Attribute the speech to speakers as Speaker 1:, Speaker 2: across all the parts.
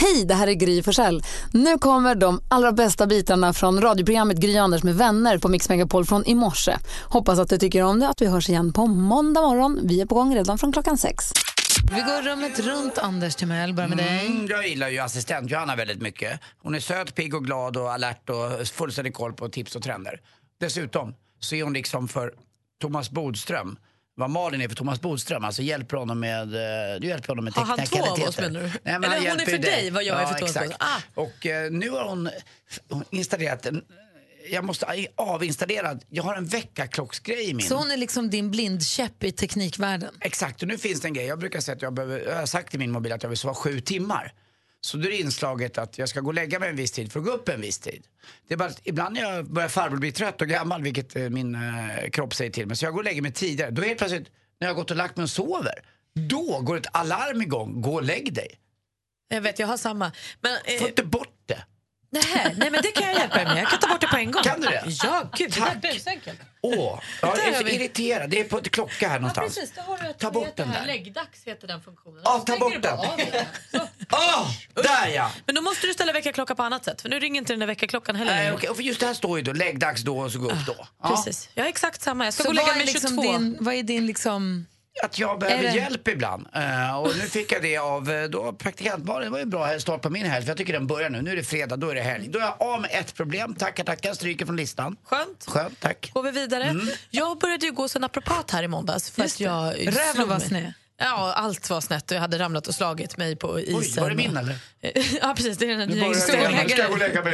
Speaker 1: Hej, det här är Gry Forssell. Nu kommer de allra bästa bitarna från radioprogrammet Gry Anders med vänner på Mix Megapol från i morse. Hoppas att du tycker om det att vi hörs igen på måndag morgon. Vi är på gång redan från klockan sex. Vi går rummet runt, Anders Timell. Börja med dig.
Speaker 2: Mm, jag gillar ju assistent Johanna väldigt mycket. Hon är söt, pigg och glad och alert och fullständig koll på tips och trender. Dessutom så är hon liksom för Thomas Bodström vad Malin är för Thomas Bodström, alltså hjälper honom med, eh, du hjälper honom med
Speaker 3: Har han två av
Speaker 2: teknikaliteter.
Speaker 3: oss, menar du?
Speaker 2: Nej, men
Speaker 3: Eller
Speaker 2: han
Speaker 3: hon är
Speaker 2: hjälper
Speaker 3: för
Speaker 2: ju
Speaker 3: dig, vad jag är
Speaker 2: ja,
Speaker 3: för Thomas
Speaker 2: exakt.
Speaker 3: Bodström. Ah.
Speaker 2: Och eh, nu har hon, hon installerat en, jag måste avinstallera, jag har en väckarklocksgrej i min.
Speaker 1: Så hon är liksom din blindkäpp i teknikvärlden.
Speaker 2: Exakt, och nu finns det en grej. Jag brukar säga att jag behöver, jag har sagt i min mobil att jag vill sova sju timmar. Så då är det inslaget att jag ska gå och lägga mig en viss tid för att gå upp en viss tid. Det är bara att ibland när jag börjar farbror bli trött och gammal, vilket eh, min eh, kropp säger till mig, så jag går och lägger mig tidigare. Då helt plötsligt, när jag har gått och lagt mig och sover, då går ett alarm igång. Gå och lägg dig.
Speaker 3: Jag vet, jag har samma. Men, eh,
Speaker 2: Få inte bort det.
Speaker 3: nej, nej, men det kan jag hjälpa er med. Jag kan ta bort det på en gång.
Speaker 2: Kan du det?
Speaker 3: Ja, gud. Det
Speaker 2: Tack.
Speaker 3: där är busenkelt.
Speaker 2: Åh, jag
Speaker 3: Där
Speaker 2: är
Speaker 3: har
Speaker 2: så
Speaker 3: vi-
Speaker 2: irriterad. Det är på ett klocka här någonstans.
Speaker 4: Precis, då har du ett,
Speaker 2: Ta bort
Speaker 4: vet
Speaker 2: den
Speaker 4: det här,
Speaker 2: där.
Speaker 4: Läggdags heter den funktionen.
Speaker 2: Ja,
Speaker 4: Så
Speaker 2: ta
Speaker 4: stänger
Speaker 2: bort
Speaker 4: du bara
Speaker 2: den.
Speaker 4: av den.
Speaker 2: Åh, där ja!
Speaker 3: Men då måste du ställa väckarklocka på annat sätt. För nu ringer inte den där väckarklockan heller.
Speaker 2: Nej,
Speaker 3: längre.
Speaker 2: okej, och för just det här står ju då, lägg dags då och så gå upp då. Ja.
Speaker 3: Precis. Jag är exakt samma. Jag ska gå
Speaker 1: Så
Speaker 3: och
Speaker 1: vad
Speaker 3: lägga
Speaker 1: är,
Speaker 3: mig
Speaker 1: liksom
Speaker 3: 22.
Speaker 1: din, vad är din liksom...
Speaker 2: att jag
Speaker 1: Är
Speaker 2: behöver
Speaker 1: det-
Speaker 2: hjälp ibland. Eh, och nu fick jag det av eh, då praktikantbarnen. Det var ju en bra start på min helg för jag tycker den börjar nu. Nu är det fredag, då är det helg. Då är jag av med ett problem. Tackar, tackar. Stryker från listan.
Speaker 3: Skönt.
Speaker 2: Skönt, tack.
Speaker 3: Går vi vidare?
Speaker 2: Mm.
Speaker 3: Jag började ju gå som naprapat här i måndags. För att jag
Speaker 1: Röven
Speaker 3: slog
Speaker 1: var
Speaker 3: mig.
Speaker 1: sned.
Speaker 3: Ja, allt var snett och jag hade ramlat och slagit mig på isen.
Speaker 2: Oj, var det min eller?
Speaker 3: ja, precis. Det är den här
Speaker 2: Nu
Speaker 3: nya
Speaker 2: börjar det
Speaker 3: historien.
Speaker 2: igen. Ska jag gå och lägga mig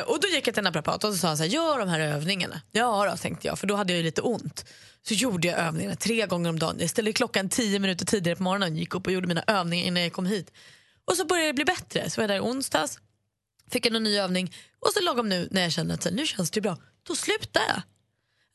Speaker 3: Eh, och då gick jag till en naprapat och så sa han så här, gör de här övningarna. Ja då, tänkte jag, för då hade jag ju lite ont. Så gjorde jag övningarna tre gånger om dagen. Jag ställde klockan tio minuter tidigare på morgonen, gick upp och gjorde mina övningar innan jag kom hit. Och så började det bli bättre. Så var jag där i onsdags, fick en ny övning och så lagom nu när jag kände att så här, nu känns det ju bra, då slutar jag.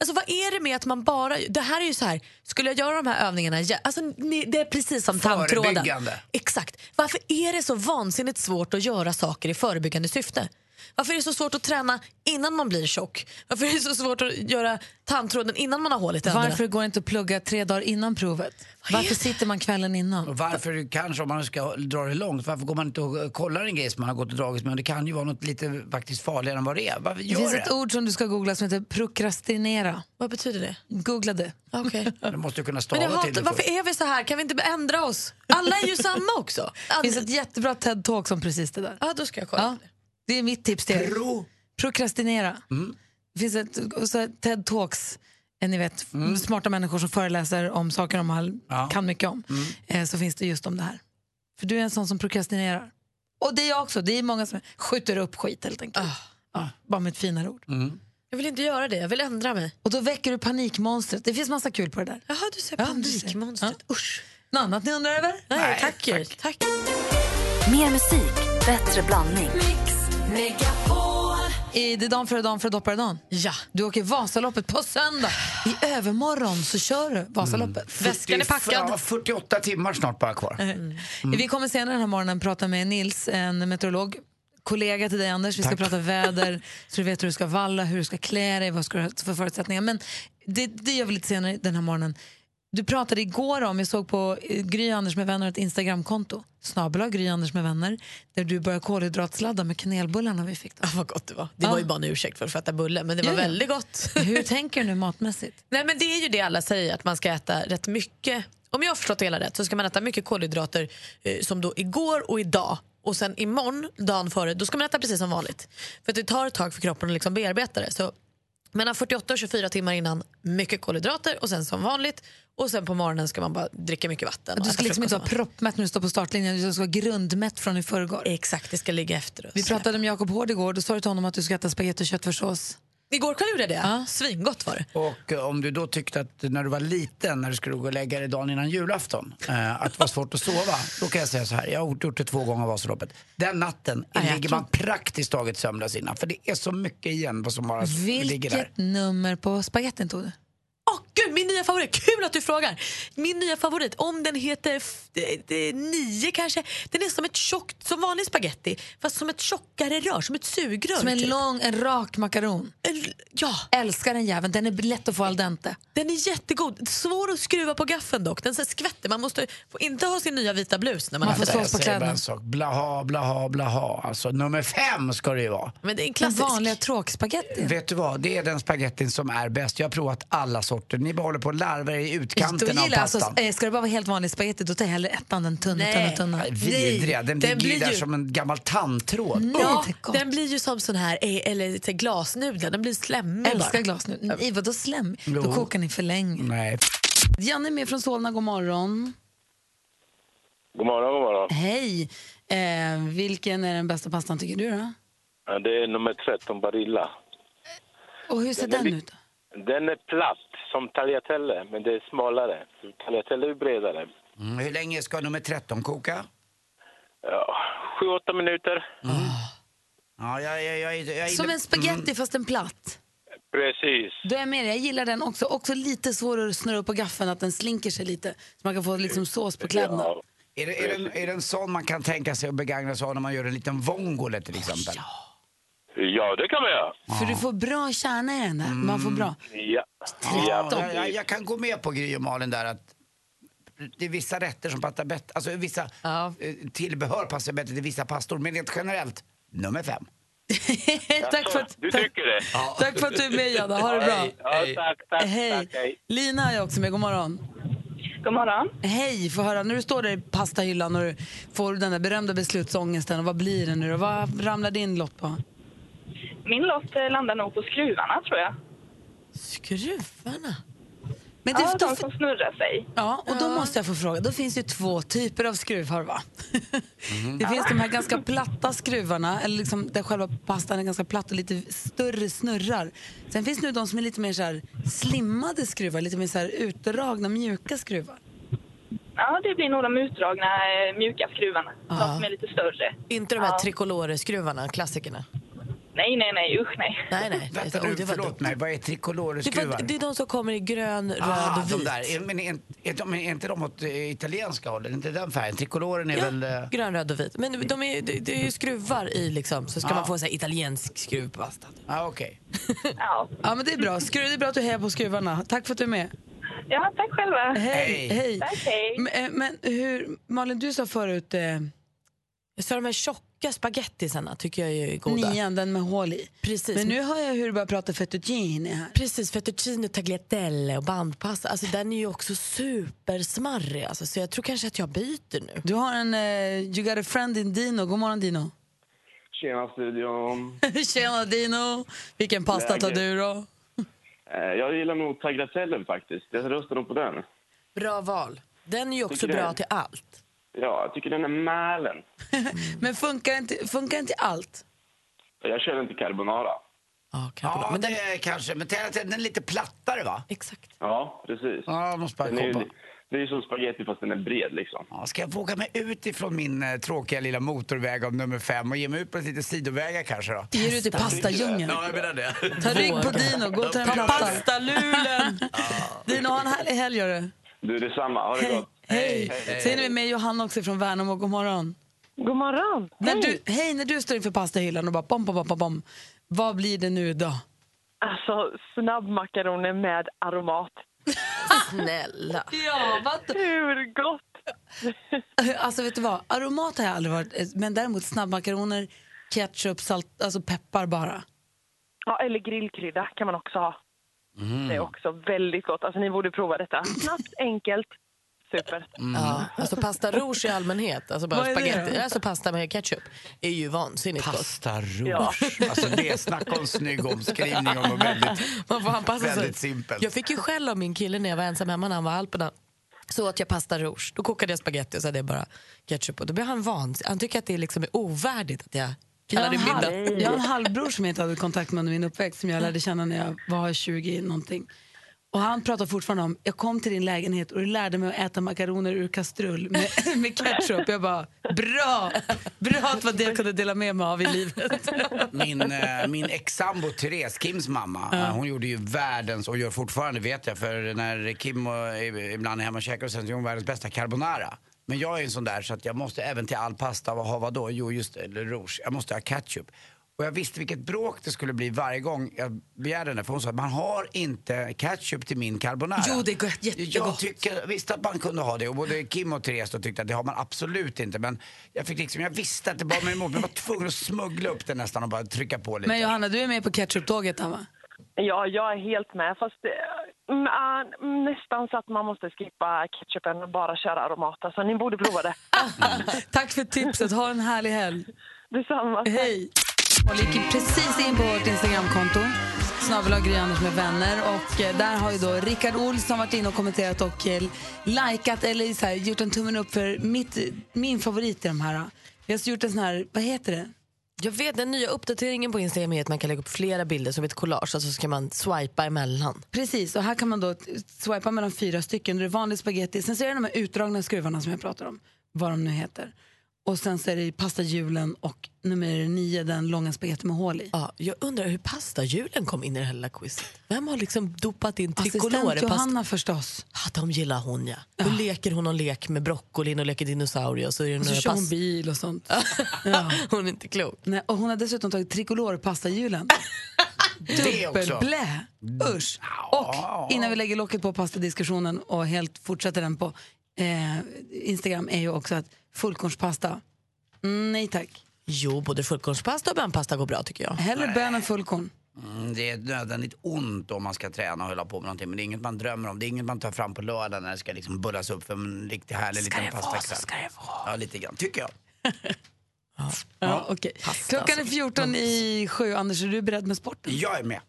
Speaker 3: Alltså vad är det med att man bara, det här är ju så här, skulle jag göra de här övningarna igen? Alltså ni- det är precis som tandtråden.
Speaker 2: Förebyggande.
Speaker 3: Exakt. Varför är det så vansinnigt svårt att göra saker i förebyggande syfte? Varför är det så svårt att träna innan man blir tjock? Varför är det så svårt att göra tandtråden innan man har hål i tänderna?
Speaker 1: Varför går det inte att plugga tre dagar innan provet? Varför sitter man kvällen innan?
Speaker 2: Och varför kanske, om man ska dra det långt, varför går man inte och kollar en grej som man har gått och dragit med? Det kan ju vara något lite faktiskt farligare än vad det är. Varför
Speaker 1: Det
Speaker 2: gör
Speaker 1: finns
Speaker 2: det?
Speaker 1: ett ord som du ska googla som heter prokrastinera.
Speaker 3: Vad betyder det?
Speaker 1: Googla det.
Speaker 3: Okej.
Speaker 2: Du måste ju kunna
Speaker 3: Men
Speaker 2: stava
Speaker 3: jag
Speaker 2: till det
Speaker 3: hatar, varför
Speaker 2: först.
Speaker 3: är vi så här? Kan vi inte ändra oss? Alla är ju samma också.
Speaker 1: Det finns ett jättebra TED-talk om precis det där.
Speaker 3: Ja, då ska jag kolla.
Speaker 1: Ja, det är mitt tips till er.
Speaker 2: Pro-
Speaker 1: Prokrastinera. Det finns ett och så här TED Talks, eh, ni vet, smarta människor som föreläser om saker de har,
Speaker 2: Ja.
Speaker 1: kan mycket om. Eh, Så finns det just om det här. För du är en sån som prokrastinerar. Och det är jag också. Det är många som skjuter upp skit helt enkelt. Ja, bara med ett finare ord.
Speaker 3: Jag vill inte göra det, jag vill ändra mig.
Speaker 1: Och då väcker du panikmonstret. Det finns massa kul på det där.
Speaker 3: Jaha, du ser
Speaker 1: Ja, du ser.
Speaker 3: panikmonstret. Usch.
Speaker 1: Något annat ni undrar över?
Speaker 3: Nej,
Speaker 2: Nej,
Speaker 3: tack, tack. tack.
Speaker 5: Mer musik, bättre blandning.
Speaker 1: I det är dagen före dagen före doppare dagen.
Speaker 3: Ja.
Speaker 1: Du åker Vasaloppet på söndag. I övermorgon så kör du Vasaloppet.
Speaker 3: Väskan är
Speaker 2: Ja,
Speaker 3: packad.
Speaker 2: 48 timmar snart bara kvar.
Speaker 3: Mm.
Speaker 1: Vi kommer senare den här morgonen prata med Nils, en meteorolog, kollega till dig Anders. Vi ska
Speaker 2: Tack.
Speaker 1: prata väder, så du vet hur du ska valla, hur du ska klä dig, vad ska du ha för förutsättningar. Men det, det gör vi lite senare den här morgonen. Du pratade igår om, jag såg på eh, Gry Anders med vänner, ett Instagramkonto, snabel Gry Anders med vänner, där du började kolhydratsladda med kanelbullarna vi fick. Då.
Speaker 3: Ja, vad gott det var. Det var ju bara en ursäkt för att fatta bulle, men det var
Speaker 1: Ja, ja.
Speaker 3: väldigt gott.
Speaker 1: Hur tänker du nu matmässigt?
Speaker 3: Nej, men det är ju det alla säger, att man ska äta rätt mycket. Om jag har förstått det hela rätt så ska man äta mycket kolhydrater eh, som då igår och idag. Och sen imorgon, dagen före, då ska man äta precis som vanligt. För att det tar ett tag för kroppen att liksom bearbeta det. Så mellan 48 och 24 timmar innan, mycket kolhydrater och sen som vanligt. Och sen på morgonen ska man bara dricka mycket vatten. och
Speaker 1: Du
Speaker 3: äta
Speaker 1: ska liksom inte vara
Speaker 3: frukost.
Speaker 1: proppmätt när du står på startlinjen, du ska vara grundmätt från i förrgår.
Speaker 3: Exakt, det ska ligga efter oss.
Speaker 1: Vi pratade med Jakob Hård igår, då sa du till honom att du ska äta spagetti och köttfärssås.
Speaker 3: Igår kväll gjorde jag det. Svingott var det.
Speaker 2: Och eh, om du då tyckte att när du var liten, när du skulle gå och lägga dig dagen innan julafton, eh, att det var svårt att sova. Då kan jag säga så här, jag har gjort det två gånger Vasaloppet. Den natten
Speaker 3: jag tror-
Speaker 2: ligger man praktiskt taget sömnlös innan. För det är så mycket igen vad som bara ligger där.
Speaker 1: Vilket nummer på spagettin tog du?
Speaker 3: Åh Gud, min nya favorit! Kul att du frågar! Min nya favorit, om den heter f- eh, eh, nio kanske, den är som ett tjockt, som vanlig spaghetti fast som ett tjockare rör, som ett sugrör.
Speaker 1: Som en
Speaker 3: typ.
Speaker 1: lång, en rak makaron.
Speaker 3: En- Ja,
Speaker 1: Älskar den jäveln, den är lätt att få al dente.
Speaker 3: den är jättegod. Svår att skruva på gaffeln dock. Den så här skvätter, man måste får inte ha sin nya vita blus när man,
Speaker 1: Man får
Speaker 3: äter den.
Speaker 1: slåss på
Speaker 2: Jag säger bara
Speaker 1: kläderna.
Speaker 2: en sak. Blaha, blaha, blaha. Alltså nummer fem ska det ju vara.
Speaker 3: Men det är en
Speaker 1: Den
Speaker 3: klassisk.
Speaker 1: vanliga tråkspagettin.
Speaker 2: Vet du vad, det är den spagettin som är bäst. Jag har provat alla sorter. Ni bara håller på och larvar i
Speaker 1: Då
Speaker 2: utkanten av
Speaker 1: gillar jag alltså,
Speaker 2: pastan.
Speaker 1: eh, ska det bara vara helt vanlig spagetti, då tar jag hellre ettan, den tunna,
Speaker 3: Nej.
Speaker 1: tunna, tunna.
Speaker 2: Nej, Vidriga, den,
Speaker 3: den
Speaker 2: ligger ju
Speaker 3: blir
Speaker 2: där
Speaker 3: ju- Mm.
Speaker 2: som en gammal tandtråd.
Speaker 3: Ja,
Speaker 1: det är gott.
Speaker 3: den blir ju som sån här, eh, eller lite glasnudlar, den blir slemmig
Speaker 1: Älskar
Speaker 3: bara.
Speaker 1: glas nu. Nej, vadå slem? Då
Speaker 2: Jo.
Speaker 1: kokar ni för länge.
Speaker 2: Nej.
Speaker 1: Janne är med från Solna, god morgon.
Speaker 6: God morgon, god morgon.
Speaker 1: Hej! Eh, vilken är den bästa pastan tycker du då?
Speaker 6: Ja, Det är nummer 13, Barilla.
Speaker 1: Och hur ser
Speaker 6: Den
Speaker 1: den,
Speaker 6: är li-
Speaker 1: ut då?
Speaker 6: Den är platt som tagliatelle, men det är smalare. Tagliatelle är ju bredare.
Speaker 2: Mm, hur länge ska nummer 13 koka?
Speaker 6: Ja, sju, åtta minuter.
Speaker 2: Ja, jag, jag, jag, jag, jag
Speaker 1: Som en spagetti fast en platt.
Speaker 6: Precis.
Speaker 1: Då är jag med dig. jag gillar den också. Också lite svår att snurra upp på gaffeln, att den slinker sig lite. Så man kan få liksom sås på kläderna.
Speaker 6: Ja.
Speaker 2: Är det, är, det en, är det en sån man kan tänka sig att begagna sig av när man gör en liten vongole till exempel?
Speaker 6: ja, det kan man göra.
Speaker 1: För du får bra kärna i den där. Man får bra.
Speaker 6: Ja.
Speaker 2: Ja,
Speaker 6: Ja,
Speaker 2: jag- jag, jag kan gå med på Gry och Malin där att det är vissa rätter som passar bättre, alltså vissa
Speaker 3: Ja.
Speaker 2: eh, tillbehör passar bättre till vissa pastor, men rent generellt, nummer fem.
Speaker 3: Mm.
Speaker 1: tack, för att,
Speaker 6: Du
Speaker 1: tack,
Speaker 6: tycker det?
Speaker 1: tack för att du är med Jada, ha det bra.
Speaker 6: Ja, tack, tack,
Speaker 1: Hej.
Speaker 6: tack. Hej.
Speaker 1: Lina är också med, god morgon.
Speaker 7: God morgon.
Speaker 1: Hej, få höra, när du står där i pastahyllan och du får den där berömda beslutsångesten, och vad blir det nu då? Vad ramlar din lott på?
Speaker 7: Min lott eh, landar nog på skruvarna, tror jag.
Speaker 3: Skruvarna?
Speaker 1: Men det,
Speaker 7: Ja,
Speaker 1: då,
Speaker 7: de som snurrar sig.
Speaker 1: ja, och då måste jag få fråga, då finns ju två typer av skruvar va? Det finns de här ganska platta skruvarna, eller liksom där själva pastan är ganska platt och lite större snurrar. Sen finns det nu de som är lite mer så här slimmade skruvar, lite mer så här utdragna, mjuka skruvar.
Speaker 7: Ja, det blir nog de utdragna, eh, mjuka skruvarna. De som är lite större.
Speaker 3: Inte de här tricolore-skruvarna, klassikerna?
Speaker 7: Nej, nej, nej. Usch, nej.
Speaker 3: Nej, Alltså, nej.
Speaker 2: Vänta
Speaker 3: Oj,
Speaker 2: nu,
Speaker 3: det var
Speaker 2: förlåt
Speaker 3: dumt.
Speaker 2: mig, vad är
Speaker 3: Det, var,
Speaker 2: tricoloreskruvar?
Speaker 3: det är de som kommer i grön, röd
Speaker 2: Ah,
Speaker 3: och
Speaker 2: de
Speaker 3: vit.
Speaker 2: där. Är- Men är, inte- är, de, är inte de åt eh, italienska hållet? Är Inte den färgen? Tricoloren är
Speaker 3: Ja,
Speaker 2: väl... eh,
Speaker 3: grön, röd och vit. Men de är, det, det är ju skruvar i liksom, så ska
Speaker 2: Ja.
Speaker 3: man få så här italiensk skruvpasta.
Speaker 2: Ja, ah, okej.
Speaker 7: Ja.
Speaker 1: Ja men det är bra, Skru, det är bra att du hejar på skruvarna. Tack för att du är med.
Speaker 7: ja, tack själva.
Speaker 1: Hej!
Speaker 2: Hej.
Speaker 1: hej.
Speaker 7: Tack, hej.
Speaker 1: Men, eh, men hur, Malin du sa förut eh,
Speaker 3: Så de här tjocka spagettisarna tycker jag är goda.
Speaker 1: nian, den med hål i.
Speaker 3: Precis.
Speaker 1: Men nu hör jag hur du börjar prata fettuccine här.
Speaker 3: Precis, fettuccine, tagliatelle och bandpasta. Alltså den är ju också supersmarrig. Alltså, så jag tror kanske att jag byter nu.
Speaker 1: Du har en eh, You got a friend in Dino. God morgon Dino.
Speaker 8: Tjena studion.
Speaker 1: Tjena Dino! Vilken pasta tar
Speaker 8: Läget?
Speaker 1: du då?
Speaker 8: Eh, Jag gillar nog tagliatellen faktiskt. Jag röstar nog på den.
Speaker 3: Bra val. Den är ju också
Speaker 8: Tycker
Speaker 3: bra
Speaker 8: du?
Speaker 3: till allt.
Speaker 8: Ja, jag tycker den är mälen.
Speaker 1: Men funkar inte, funkar inte allt?
Speaker 8: Jag kör inte carbonara.
Speaker 3: Ja, kanske
Speaker 2: Ja,
Speaker 3: Men den,
Speaker 2: det är kanske. Men tänk att den är lite plattare, va?
Speaker 3: Exakt.
Speaker 8: Ja, precis.
Speaker 2: Ja, jag måste bara
Speaker 8: Den är
Speaker 2: kolla.
Speaker 8: ju, det är ju som spaghetti fast den är bred liksom.
Speaker 2: Ja, ska jag våga mig ut ifrån min eh, tråkiga lilla motorväg av nummer fem och ge mig ut på lite sidovägar kanske då?
Speaker 1: Ger du ut i pastadjungeln?
Speaker 2: jag menar det.
Speaker 1: Ta rygg på Dino, gå till den platta. Pastalulen! Dino, ha en härlig helg gör du.
Speaker 8: Du, detsamma. Ha det
Speaker 1: Hej.
Speaker 8: gott.
Speaker 1: Hej! Sen är vi med Johanna också från Värnamo. God morgon.
Speaker 7: God morgon.
Speaker 1: När du, hej! När du står inför pastahyllan och bara bom, bom, bom, bom, bom. Vad blir det nu då?
Speaker 7: Alltså, snabbmakaroner med aromat.
Speaker 3: Snälla.
Speaker 1: Ja, vad
Speaker 7: Hur gott!
Speaker 1: Alltså vet du vad, aromat har jag aldrig varit, eh, men däremot snabbmakaroner, ketchup, salt, alltså peppar bara.
Speaker 7: Ja, eller grillkrydda kan man också ha.
Speaker 9: Mm.
Speaker 7: Det är också väldigt gott. Alltså, ni borde prova detta. Snabbt, enkelt, super.
Speaker 9: Mm.
Speaker 3: Ja. Alltså pasta rouge i allmänhet, alltså bara
Speaker 1: Vad är det
Speaker 3: spagetti,
Speaker 1: då?
Speaker 3: alltså pasta med ketchup, är ju vansinnigt gott.
Speaker 2: Pasta rouge. Alltså det är snack om snygg omskrivning om något väldigt...
Speaker 3: Man får anpassa sig.
Speaker 2: Väldigt simpelt.
Speaker 3: Jag fick ju skäll av min kille när jag var ensam hemma när han var i Alperna. Så åt jag pasta rouge. Då kokade jag spagetti och så hade jag bara ketchup. Och då blev han vansinnig. Han tycker att det liksom är ovärdigt att jag
Speaker 1: Jag
Speaker 3: kallar
Speaker 1: har,
Speaker 3: det
Speaker 1: en
Speaker 3: middag.
Speaker 1: halv, jag har en halvbror som jag inte hade kontakt med under min uppväxt som jag lärde känna när jag var 20 någonting. Och han pratar fortfarande om, jag kom till din lägenhet och du lärde mig att äta makaroner ur kastrull med, med ketchup. Jag bara, bra! Bra att det var det jag kunde dela med mig av i livet.
Speaker 2: Min, eh, min ex-sambo Therese, Kims mamma, eh, hon gjorde ju världens, och gör fortfarande vet jag, för när Kim och, eh, ibland är hemma och käkar och sen så gör hon världens bästa carbonara. Men jag är en sån där så att jag måste även till all pasta vad ha vadå? Jo just det, eller rouge, jag måste ha ketchup. Och jag visste vilket bråk det skulle bli varje gång jag begärde den för hon sa att man har inte ketchup till min carbonara.
Speaker 1: Jo, det är gott,
Speaker 2: Jag
Speaker 1: jättegott.
Speaker 2: tycker visst att man kunde ha det och både Kim och Therese då tyckte att det har man absolut inte men jag fick liksom, jag visste att det var mig emot men jag var tvungen att smuggla upp det nästan och bara trycka på lite.
Speaker 1: Men Johanna, du är med på ketchuptåget, va?
Speaker 7: Ja, jag är helt med. Fast eh, mm, ah, mm, nästan så att man måste skippa ketchupen och bara köra aromata. Så ni borde prova det.
Speaker 1: Tack för tipset. Ha en härlig helg.
Speaker 7: Detsamma.
Speaker 1: Hej. Och vi gick precis in på vårt Instagramkonto, snabel Gry Anders med vänner. Och eh, där har ju då Rickard Olsson varit inne och kommenterat och eh, likat eller så här, gjort en tummen upp för mitt, min favorit i de här. Vi har så gjort en sån här, vad heter det?
Speaker 10: Jag vet, den nya uppdateringen på Instagram är att man kan lägga upp flera bilder som ett collage, alltså så kan man swipa emellan.
Speaker 1: Precis, och här kan man då t- swipa mellan fyra stycken. Det är vanlig spaghetti, sen så är det de här utdragna skruvarna som jag pratar om, vad de nu heter. Och sen så är det pastahjulen och nummer nio, den långa spagetti med hål i.
Speaker 10: Ja, jag undrar hur pastahjulen kom in i det här lilla quizet. Vem har liksom dopat in
Speaker 1: Assistent
Speaker 10: tricolore pasta?
Speaker 1: Johanna förstås.
Speaker 10: Ja, de gillar hon ja. Då leker hon någon lek med broccolin och leker dinosaurie och så är det
Speaker 1: Och så
Speaker 10: några
Speaker 1: kör hon
Speaker 10: past-
Speaker 1: bil och sånt.
Speaker 10: Hon är inte klok.
Speaker 1: Nej, och hon har dessutom tagit tricolore-pastahjulen.
Speaker 10: Det också. Mm.
Speaker 1: Dubbelblä! Usch! Och innan vi lägger locket på pastadiskussionen och helt fortsätter den på eh, Instagram är ju också att fullkornspasta, mm, nej tack.
Speaker 10: Jo, både fullkornspasta och bönpasta går bra tycker jag.
Speaker 1: Hellre bön än fullkorn.
Speaker 2: Mm, det är ett nödvändigt ont om man ska träna och hålla på med någonting men det är inget man drömmer om, det är inget man tar fram på lördagen när det ska liksom bullas upp för en riktigt härlig liten
Speaker 1: det vara
Speaker 2: pastakväll.
Speaker 1: så? Ska det
Speaker 2: vara? Ja, lite grann, tycker jag.
Speaker 1: Ja, okej. Klockan är
Speaker 10: alltså.
Speaker 1: 14 i sju. Anders, är du beredd med sporten?
Speaker 2: Jag är med.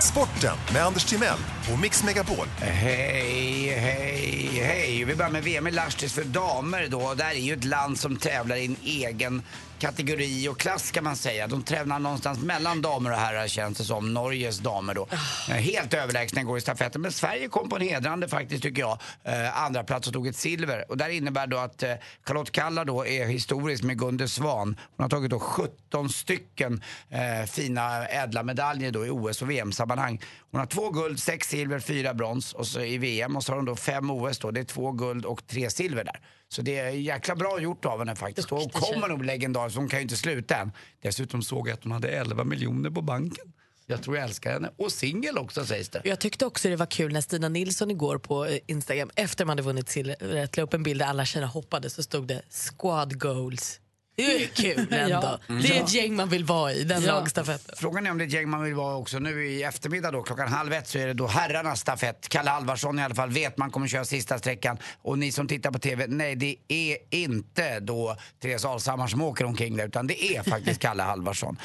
Speaker 11: Sporten med Anders Timell och Mix Megapol.
Speaker 2: Hej, hej, hej. Vi börjar med VM i Lahtis för damer då. Det här är ju ett land som tävlar i en egen kategori och klass kan man säga. De tävlar någonstans mellan damer och herrar känns det som. Norges damer då. Eh, Helt överlägsna går i stafetten. Men Sverige kom på en hedrande faktiskt tycker jag. Eh, andra plats och tog ett silver. Och det här innebär då att eh, Charlotte Kalla då är historisk med Gunde Svan. Hon har tagit då 17 stycken eh, fina ädla medaljer då i OS och VM-sammanhang. Hon har två guld, sex silver, fyra brons och så i VM och så har hon då fem OS då. Det är två guld och tre silver där. Så det är jäkla bra gjort av henne faktiskt. Och hon kommer nog legendarisk, hon kan ju inte sluta än. Dessutom såg jag att hon hade 11 miljoner på banken. Jag tror jag älskar henne. Och singel också sägs det.
Speaker 10: Jag tyckte också det var kul när Stina Nilsson igår på eh, Instagram efter man hade vunnit silvret la upp en bild där alla tjejerna hoppade så stod det squad goals. Det är kul
Speaker 2: Ja.
Speaker 10: ändå.
Speaker 2: Mm.
Speaker 10: Det är ett
Speaker 2: Ja.
Speaker 10: gäng man vill vara i, den
Speaker 2: Ja.
Speaker 10: lagstafetten.
Speaker 2: Frågan är om det är ett gäng man vill vara också nu i eftermiddag då. Klockan halv ett så är det då herrarnas stafett. Kalle Alvarsson i alla fall vet man kommer köra sista sträckan. Och ni som tittar på TV, nej det är inte då Therese Alshammar som åker omkring där utan det är faktiskt Kalle Alvarsson.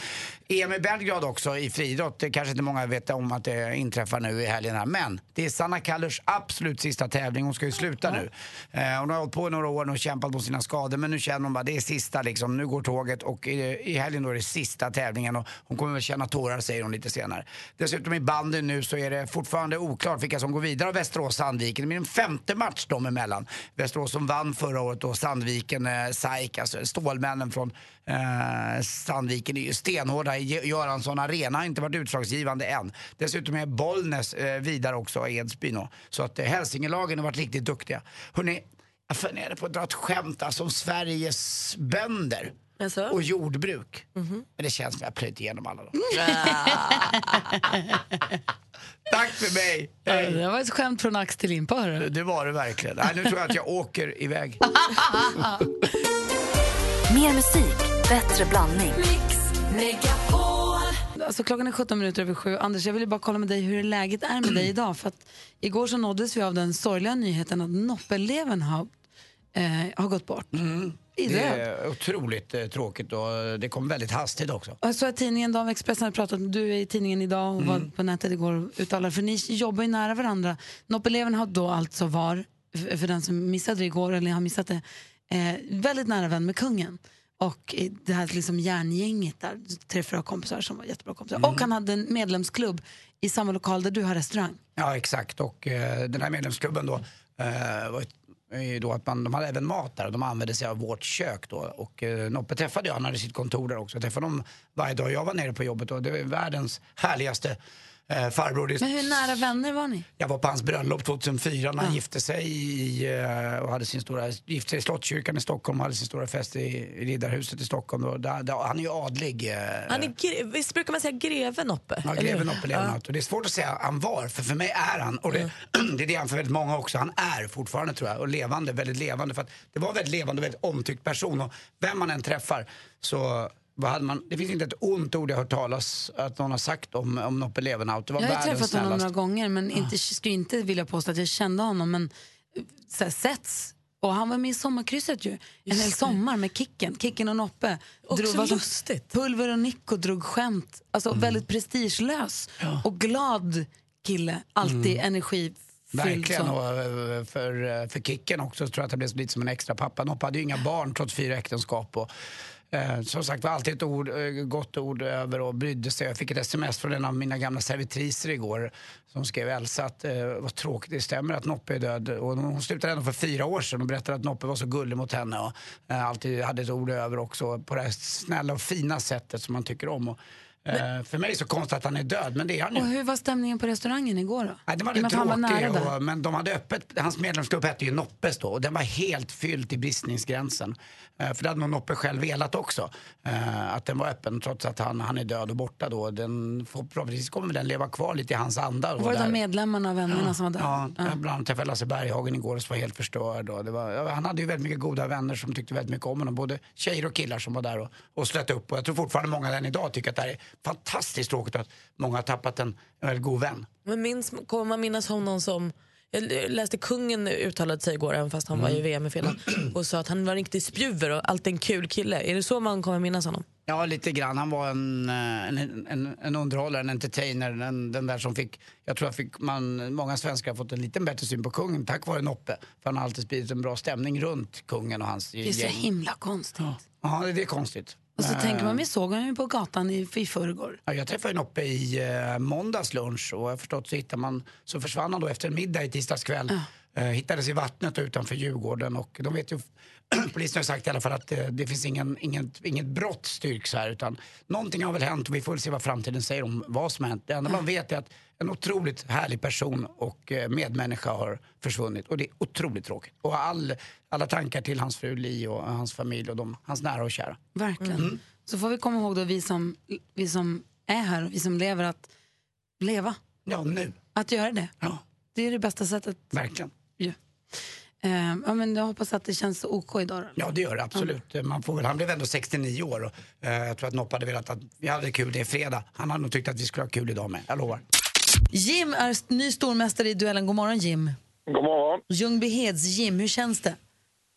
Speaker 2: EM i Belgrad också i friidrott. Det kanske inte många vet om att det inträffar nu i helgen här. Men det är Sanna Kallers absolut sista tävling. Hon ska ju sluta nu. Eh, hon har hållit på i några år nu och kämpat mot sina skador men nu känner hon bara det är sista liksom. Nu går tåget och i, i helgen då är det sista tävlingen och hon kommer väl känna tårar säger hon lite senare. Dessutom i banden nu så är det fortfarande oklart vilka som går vidare av Västerås och Sandviken. Det blir en femte match dem emellan. Västerås som vann förra året och Sandviken, eh, SAIK, alltså Stålmännen från eh, Sandviken är ju stenhårda i Gö- Göransson Arena, har inte varit utslagsgivande än. Dessutom är Bollnäs eh, vidare också, Edsbyn då. Så att eh, Hälsingelagen har varit riktigt duktiga. Hörrni, jag funderade på att dra ett skämt alltså, om Sveriges bönder och jordbruk. Men det känns som jag plöjt igenom alla dem. Tack för mig! Eh,
Speaker 1: Ja, Det var ett skämt från ax till limpa. hörru.
Speaker 2: Det var det verkligen. Nej, nu tror jag att jag åker iväg.
Speaker 5: Mer musik, bättre blandning.
Speaker 1: Alltså, klockan är 17 minuter över sju. Anders, jag ville bara kolla med dig hur läget är med dig idag. För att igår så nåddes vi av den sorgliga nyheten att Noppeleven har, eh, har gått bort. I
Speaker 2: Det
Speaker 1: död.
Speaker 2: är otroligt eh, tråkigt och det kom väldigt hastigt också.
Speaker 1: Jag såg att tidningen, Dan Expressen hade pratat om, du är i tidningen idag och var på nätet igår och uttalade, för ni jobbar ju nära varandra. Noppeleven har då alltså var, för för den som missade det igår eller har missat det, eh, väldigt nära vän med kungen. och i det här liksom järngänget där träffade jag kompisar som var jättebra kompisar. Och han hade en medlemsklubb i samma lokal där du har restaurang.
Speaker 2: Ja, exakt. Och eh, den här medlemsklubben då, eh, var ett- är ju då att man, de hade även mat där och de använde sig av vårt kök då. Och eh, Noppe träffade jag, han hade sitt kontor där också. Jag träffade dem varje dag jag var nere på jobbet och det var världens härligaste eh, farbror. Det-
Speaker 1: Men hur nära vänner var ni?
Speaker 2: Jag var på hans bröllop 2004 när han gifte sig i, eh, och hade sin stora, gifte sig i Slottskyrkan i Stockholm och hade sin stora fest i, i Riddarhuset i Stockholm. Och där, där, han är ju adlig. eh,
Speaker 3: Han är gre- visst brukar man säga greve Noppe?
Speaker 2: Ja,
Speaker 3: eller hur?
Speaker 2: greven Noppe Leonhardt. Och det är svårt att säga han var, för för mig är han, och det, det är det han för väldigt många också, han är fortfarande tror jag, och levande, väldigt levande. För att det var en väldigt levande och väldigt omtyckt person och vem man än träffar så vad hade man, det finns inte ett ont ord jag hört talas att någon har sagt om, om Noppe Levenhaut. Det var
Speaker 1: Jag har ju
Speaker 2: världens
Speaker 1: träffat honom
Speaker 2: snällaste. Ah.
Speaker 1: några gånger men inte, skulle inte vilja påstå att jag kände honom. Men eh, så här, setts. Och han var med i Sommarkrysset ju. En hel sommar med Kicken. Kicken och Noppe.
Speaker 3: Också
Speaker 1: vad som-
Speaker 3: lustigt.
Speaker 1: Pulver och Nico drog skämt. Alltså
Speaker 2: Mm.
Speaker 1: väldigt prestigelös och glad kille. Alltid
Speaker 2: Mm.
Speaker 1: energifylld.
Speaker 2: Verkligen,
Speaker 1: så.
Speaker 2: och eh, för, eh, för kicken också så tror jag att det blev lite som en extra pappa. Noppe hade ju inga barn trots fyra äktenskap. Och, eh, som sagt var alltid ett ord, eh, gott ord över och brydde sig. Jag fick ett sms från en av mina gamla servitriser igår som skrev Elsa att eh, vad tråkigt det stämmer att Noppe är död. Och hon slutade ändå för fyra år sedan och berättade att Noppe var så gullig mot henne och eh, alltid hade ett ord över också på det här snälla och fina sättet som man tycker om. Och, eh, för mig är det så konstigt att han är död, men det är han ju.
Speaker 1: Och hur var stämningen på restaurangen igår då?
Speaker 2: Nej, den var
Speaker 1: I och med
Speaker 2: lite
Speaker 1: att han var
Speaker 2: tråkig,
Speaker 1: nära där.
Speaker 2: och, men de hade öppet, hans medlemsklubb hette ju Noppes då och den var helt fylld till bristningsgränsen. Eh, för det hade nog Noppe själv velat också, eh, att den var öppen trots att han, han är död och borta då. Den, förhoppningsvis kommer den leva kvar lite i hans anda.
Speaker 1: Och var det de medlemmarna och vännerna som var där?
Speaker 2: Ja, jag bland annat träffade Lasse Berghagen igår som var helt förstörd. Och det var, ja, han hade ju väldigt mycket goda vänner som tyckte väldigt mycket om honom. Både tjejer och killar som var där och, och slöt upp. Och jag tror fortfarande många än idag tycker att det här är fantastiskt tråkigt att många har tappat en, en väldigt god vän.
Speaker 3: Men minns, kommer man minnas honom som... Jag läste kungen uttalade sig igår, även fast han
Speaker 2: Mm.
Speaker 3: var i VM i Finland, och sa att han var en riktig spjuver och alltid en kul kille. Är det så man kommer minnas honom?
Speaker 2: Ja, lite grann. Han var en, eh, en, en, en underhållare, en entertainer. Den, den där som fick, jag tror att fick man, många svenskar har fått en lite bättre syn på kungen tack vare Noppe. För han har alltid spridit en bra stämning runt kungen och hans
Speaker 1: Det är så
Speaker 2: gäng.
Speaker 1: himla konstigt.
Speaker 2: Ja, det är konstigt.
Speaker 1: Och så
Speaker 2: Eh,
Speaker 1: tänker man, vi såg honom ju på gatan i, i förrgår.
Speaker 2: Ja, jag träffade en uppe i eh, måndags lunch och jag har förstått så, hittar man, så försvann han då efter en middag i tisdags kväll. Eh, hittades i vattnet utanför Djurgården och de vet ju, polisen har sagt i alla fall att eh, det finns ingen, inget, inget brott styrks här utan någonting har väl hänt och vi får väl se vad framtiden säger om vad som har hänt. Det enda man vet är att en otroligt härlig person och eh, medmänniska har försvunnit och det är otroligt tråkigt. Och all, alla tankar till hans fru Li och hans familj och de, hans nära och kära.
Speaker 1: Verkligen. Så får vi komma ihåg då, vi som, vi som är här och vi som lever, att leva.
Speaker 2: Ja, nu.
Speaker 1: Att göra det. Det är det bästa sättet.
Speaker 2: Verkligen.
Speaker 1: Ja. Eh, ja, men jag hoppas att det känns OK idag då.
Speaker 2: Ja, det gör det absolut. Man får väl, han blev ändå 69 år och eh, jag tror att Nopp hade velat att vi hade kul, det är fredag. Han hade nog tyckt att vi skulle ha kul idag med, jag lovar.
Speaker 1: Jim är st- ny stormästare i duellen. God morgon Jim.
Speaker 12: God morgon.
Speaker 1: Ljungbyheds-Jim, hur känns det?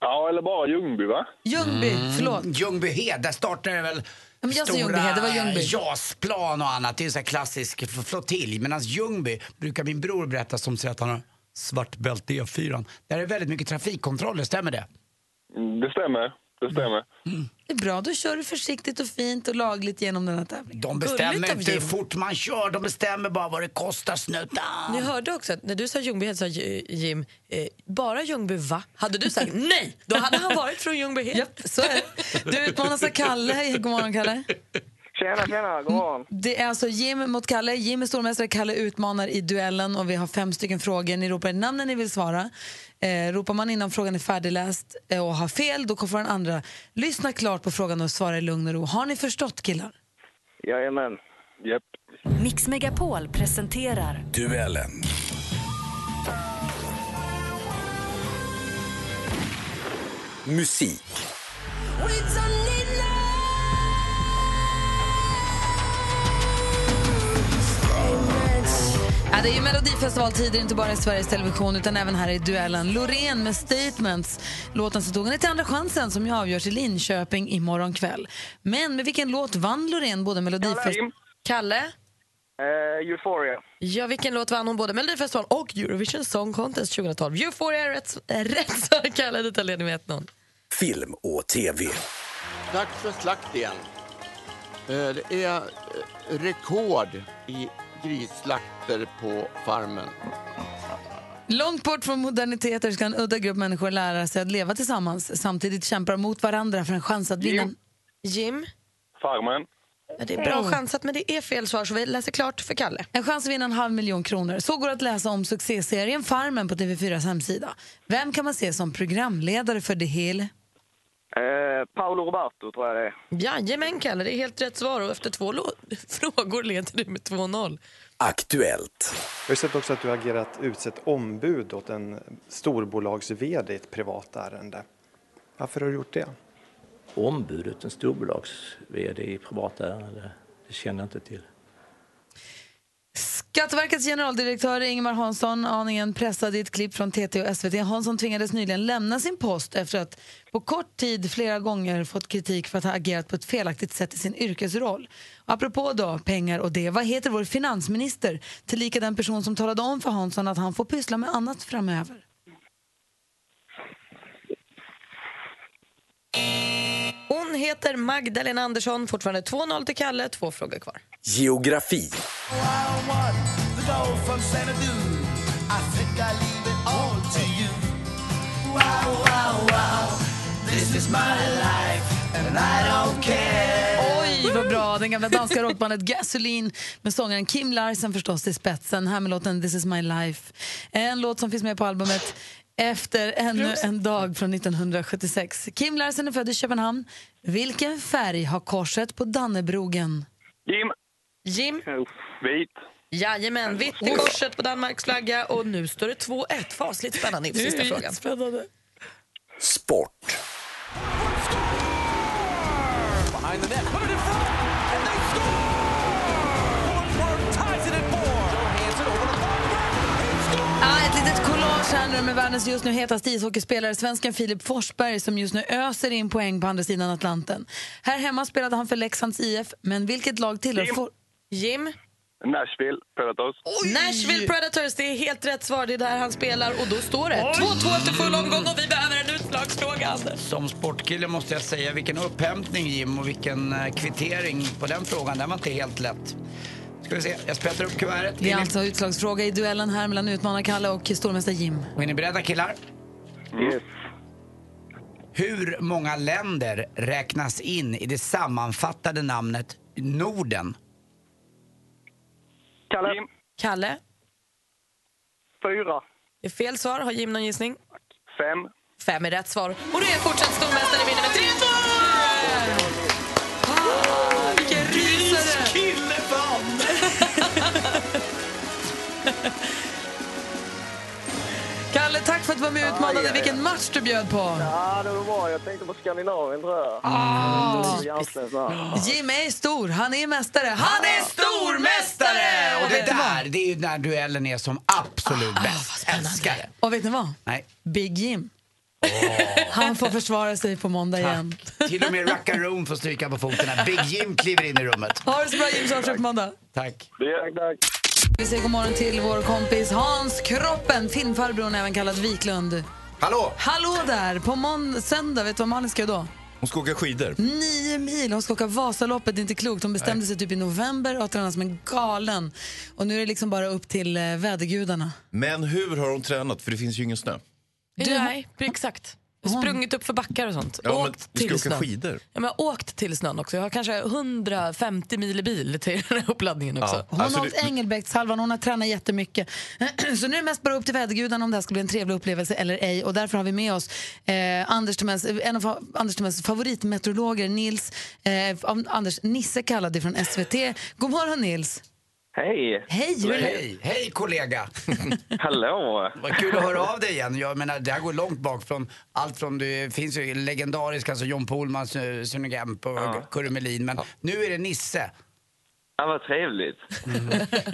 Speaker 12: Ja, eller bara Ljungby, va?
Speaker 1: Ljungby, förlåt.
Speaker 2: Ljungbyhed, där startar det väl
Speaker 1: men jag sa
Speaker 2: stora
Speaker 1: Ljungbyhed, det var Ljungby.
Speaker 2: JAS-plan och annat. Det är en sån här klassisk f- flottilj. Medan Ljungby brukar min bror berätta som säger att han har svart bälte i E4. Där är väldigt mycket trafikkontroller, stämmer det?
Speaker 12: Mm, Det stämmer. Det stämmer.
Speaker 1: Det är bra, då kör du försiktigt och fint och lagligt genom den här tävlingen.
Speaker 2: De bestämmer inte hur fort man kör, de bestämmer bara vad det kostar snuttar.
Speaker 3: Ni hörde också att när du sa Ljungbyhed sa J- Jim eh, bara Ljungby va? Hade du sagt nej, då hade han varit från Ljungbyhed. Japp,
Speaker 1: så är det. Du utmanas av Kalle. God morgon, Kalle.
Speaker 13: Tjena, tjena,
Speaker 14: Mm.
Speaker 13: god morgon.
Speaker 1: Det är alltså Jim mot Kalle. Jim är stormästare, Kalle utmanar i duellen och vi har fem stycken frågor. Ni ropar namnen ni vill svara. Eh, ropar man innan frågan är färdigläst eh, och har fel, då får den andra lyssna klart på frågan och svara i lugn och ro. Har ni förstått killar?
Speaker 13: Jajamän. Japp.
Speaker 5: Mix Megapol presenterar
Speaker 15: Duellen. Musik.
Speaker 1: Ja, det är ju Melodifestivaltider, inte bara i Sveriges Television utan även här i duellen. Loreen med Statements. Låten som tog henne till Andra chansen som ju avgörs i Linköping imorgon kväll. Men med vilken låt vann Loreen både Melodifestivalen...
Speaker 3: Kalle?
Speaker 13: Eh, Euphoria.
Speaker 3: Ja, vilken låt vann hon både Melodifestivalen och Eurovision Song Contest 2012? Euphoria är rätt, är rätt svar, Kalle. Du tar ledning med 1-0.
Speaker 15: Film och tv. Dags för slakt igen. Eh, Det är eh, rekord i grisslakter på farmen.
Speaker 1: Långt bort från moderniteter ska en udda grupp människor lära sig att leva tillsammans. Samtidigt kämpar mot varandra för en chans att vinna.
Speaker 3: Jim. Jim?
Speaker 12: Farmen.
Speaker 3: Ja, det är bra chansat, men det är fel svar, så vi läser klart för Kalle.
Speaker 1: En chans att vinna en halv miljon kronor. Så går det att läsa om succéserien Farmen på TV4s hemsida. Vem kan man se som programledare för det hela?
Speaker 13: Eh, Paolo Roberto tror jag det är.
Speaker 3: Jajamän, Kalle. Det är helt rätt svar. Och efter två lo- frågor leder du med 2-0.
Speaker 9: Aktuellt. Jag har sett också att du har agerat utsett ombud åt en storbolags-vd i ett privat ärende. Varför har du gjort det?
Speaker 16: Ombudet, en storbolags-vd i privata ärenden, det känner jag inte till.
Speaker 1: Skatteverkets generaldirektör Ingemar Hansson, aningen pressad i ett klipp från TT och SVT. Hansson tvingades nyligen lämna sin post efter att på kort tid flera gånger fått kritik för att ha agerat på ett felaktigt sätt i sin yrkesroll. Och apropå då pengar och det, vad heter vår finansminister? Tillika den person som talade om för Hansson att han får pyssla med annat framöver.
Speaker 3: Hon heter Magdalena Andersson. Fortfarande 2-0 till Kalle. Två frågor kvar.
Speaker 9: Geografi.
Speaker 1: Oj, vad bra! Den gamla danska rockbandet Gasoline med sångaren Kim Larsen förstås i spetsen. Här med låten This is my life. En låt som finns med på albumet Efter ännu en dag från 1976. Kim Larsen är född i Köpenhamn. Vilken färg har korset på Dannebrogen?
Speaker 12: Jim.
Speaker 3: Jim.
Speaker 12: Vit.
Speaker 3: Jajamän, vitt i korset på Danmarks flagga. Och nu står det 2-1. Fasligt spännande inför
Speaker 10: Det är
Speaker 3: sista frågan.
Speaker 10: jättespännande.
Speaker 9: Sport.
Speaker 1: Ah, ett litet collage här nu med världens just nu hetaste ishockeyspelare, svensken Filip Forsberg som just nu öser in poäng på andra sidan Atlanten. Här hemma spelade han för Leksands IF, men vilket lag tillhör
Speaker 12: Jim.
Speaker 1: For-
Speaker 3: Jim?
Speaker 12: Nashville. Predators.
Speaker 3: Nashville Predators, det är helt rätt svar. Det är där han spelar och då står det 2-2 efter full omgång och vi behöver en utslagsfråga, Anders.
Speaker 2: Som sportkille måste jag säga vilken upphämtning Jim och vilken eh, kvittering på den frågan. Den var inte helt lätt. Ska vi se, jag sprättar upp kuvertet.
Speaker 1: Det
Speaker 2: Är
Speaker 1: är
Speaker 2: ni-
Speaker 1: alltså utslagsfråga i duellen här mellan utmanar-Kalle och stormästare Jim.
Speaker 2: Och är ni beredda killar? Yes. Hur många länder räknas in i det sammanfattade namnet Norden?
Speaker 13: Kalle.
Speaker 3: Kalle?
Speaker 13: Fyra.
Speaker 3: Det är fel svar. Har Jim någon gissning?
Speaker 13: Fem.
Speaker 3: Fem är rätt svar. Och du är fortsatt stormästare i vinner med 3-2! Ah, Vilken rysare!
Speaker 2: Kille fan!
Speaker 1: Kalle, tack för att du var med och
Speaker 13: Ja,
Speaker 1: utmanade.
Speaker 13: ja,
Speaker 1: Vilken
Speaker 13: ja.
Speaker 1: match du bjöd på!
Speaker 13: Ja, det var bra. Jag tänkte på Skandinavien tror jag.
Speaker 1: Ah.
Speaker 13: Det var Jansen, så.
Speaker 1: Jim är stor, han är mästare. Han är stormästare!
Speaker 2: Och
Speaker 1: Och
Speaker 2: det
Speaker 1: vet ni
Speaker 2: där,
Speaker 1: vad? Ah,
Speaker 2: det är ju när duellen är som absolut bäst. Älskar det.
Speaker 1: Och vet ni vad?
Speaker 2: Nej.
Speaker 1: Big Jim. Han får försvara sig på måndag igen.
Speaker 2: Till och med Rackaroon får stryka på foten när Big Jim kliver in i rummet.
Speaker 1: Ha det så bra Jim, så hörs vi på måndag.
Speaker 2: Tack.
Speaker 1: Vi säger god morgon till vår kompis Hans Kroppen, filmfarbrorn även kallad Wiklund.
Speaker 14: Hallå!
Speaker 1: Hallå där! På måndag, söndag, vet du vad Malin ska göra då?
Speaker 14: Hon ska åka skidor.
Speaker 1: Nio mil, hon ska åka Vasaloppet, det är inte klokt. Hon bestämde sig typ i november och har tränat som en galen. Och nu är det liksom bara upp till eh, vädergudarna.
Speaker 14: Men hur har hon tränat? För det finns ju ingen snö.
Speaker 1: Du-
Speaker 10: Nej, exakt. Sprungit upp för backar och sånt.
Speaker 14: Ja, men
Speaker 10: åkt
Speaker 14: vi ska
Speaker 10: till
Speaker 14: åka
Speaker 10: snön.
Speaker 14: skidor.
Speaker 10: Ja, men jag har åkt till snön också. Jag har kanske 150 mil i bil till den här uppladdningen också.
Speaker 14: Ja.
Speaker 1: Hon har åkt Engelbrektshalvan, hon har tränat jättemycket. Så nu är det mest bara upp till vädergudarna om det här ska bli en trevlig upplevelse eller ej. Och därför har vi med oss eh, Anders Timells, en av fa- Anders Timells favoritmeteorologer, Nils, eh, av- Anders Nisse kallad ifrån SVT. God morgon Nils!
Speaker 2: Hej!
Speaker 1: Hej, hur är det?
Speaker 2: Hej, hej kollega!
Speaker 6: Hallå!
Speaker 2: Vad kul att höra av dig igen. Jag menar, det här går långt bak från allt från, det finns ju legendariska, alltså John Pohlman, Su- Sune Gemp och Kurre Melin, men nu är det Nisse.
Speaker 6: Ja, vad trevligt.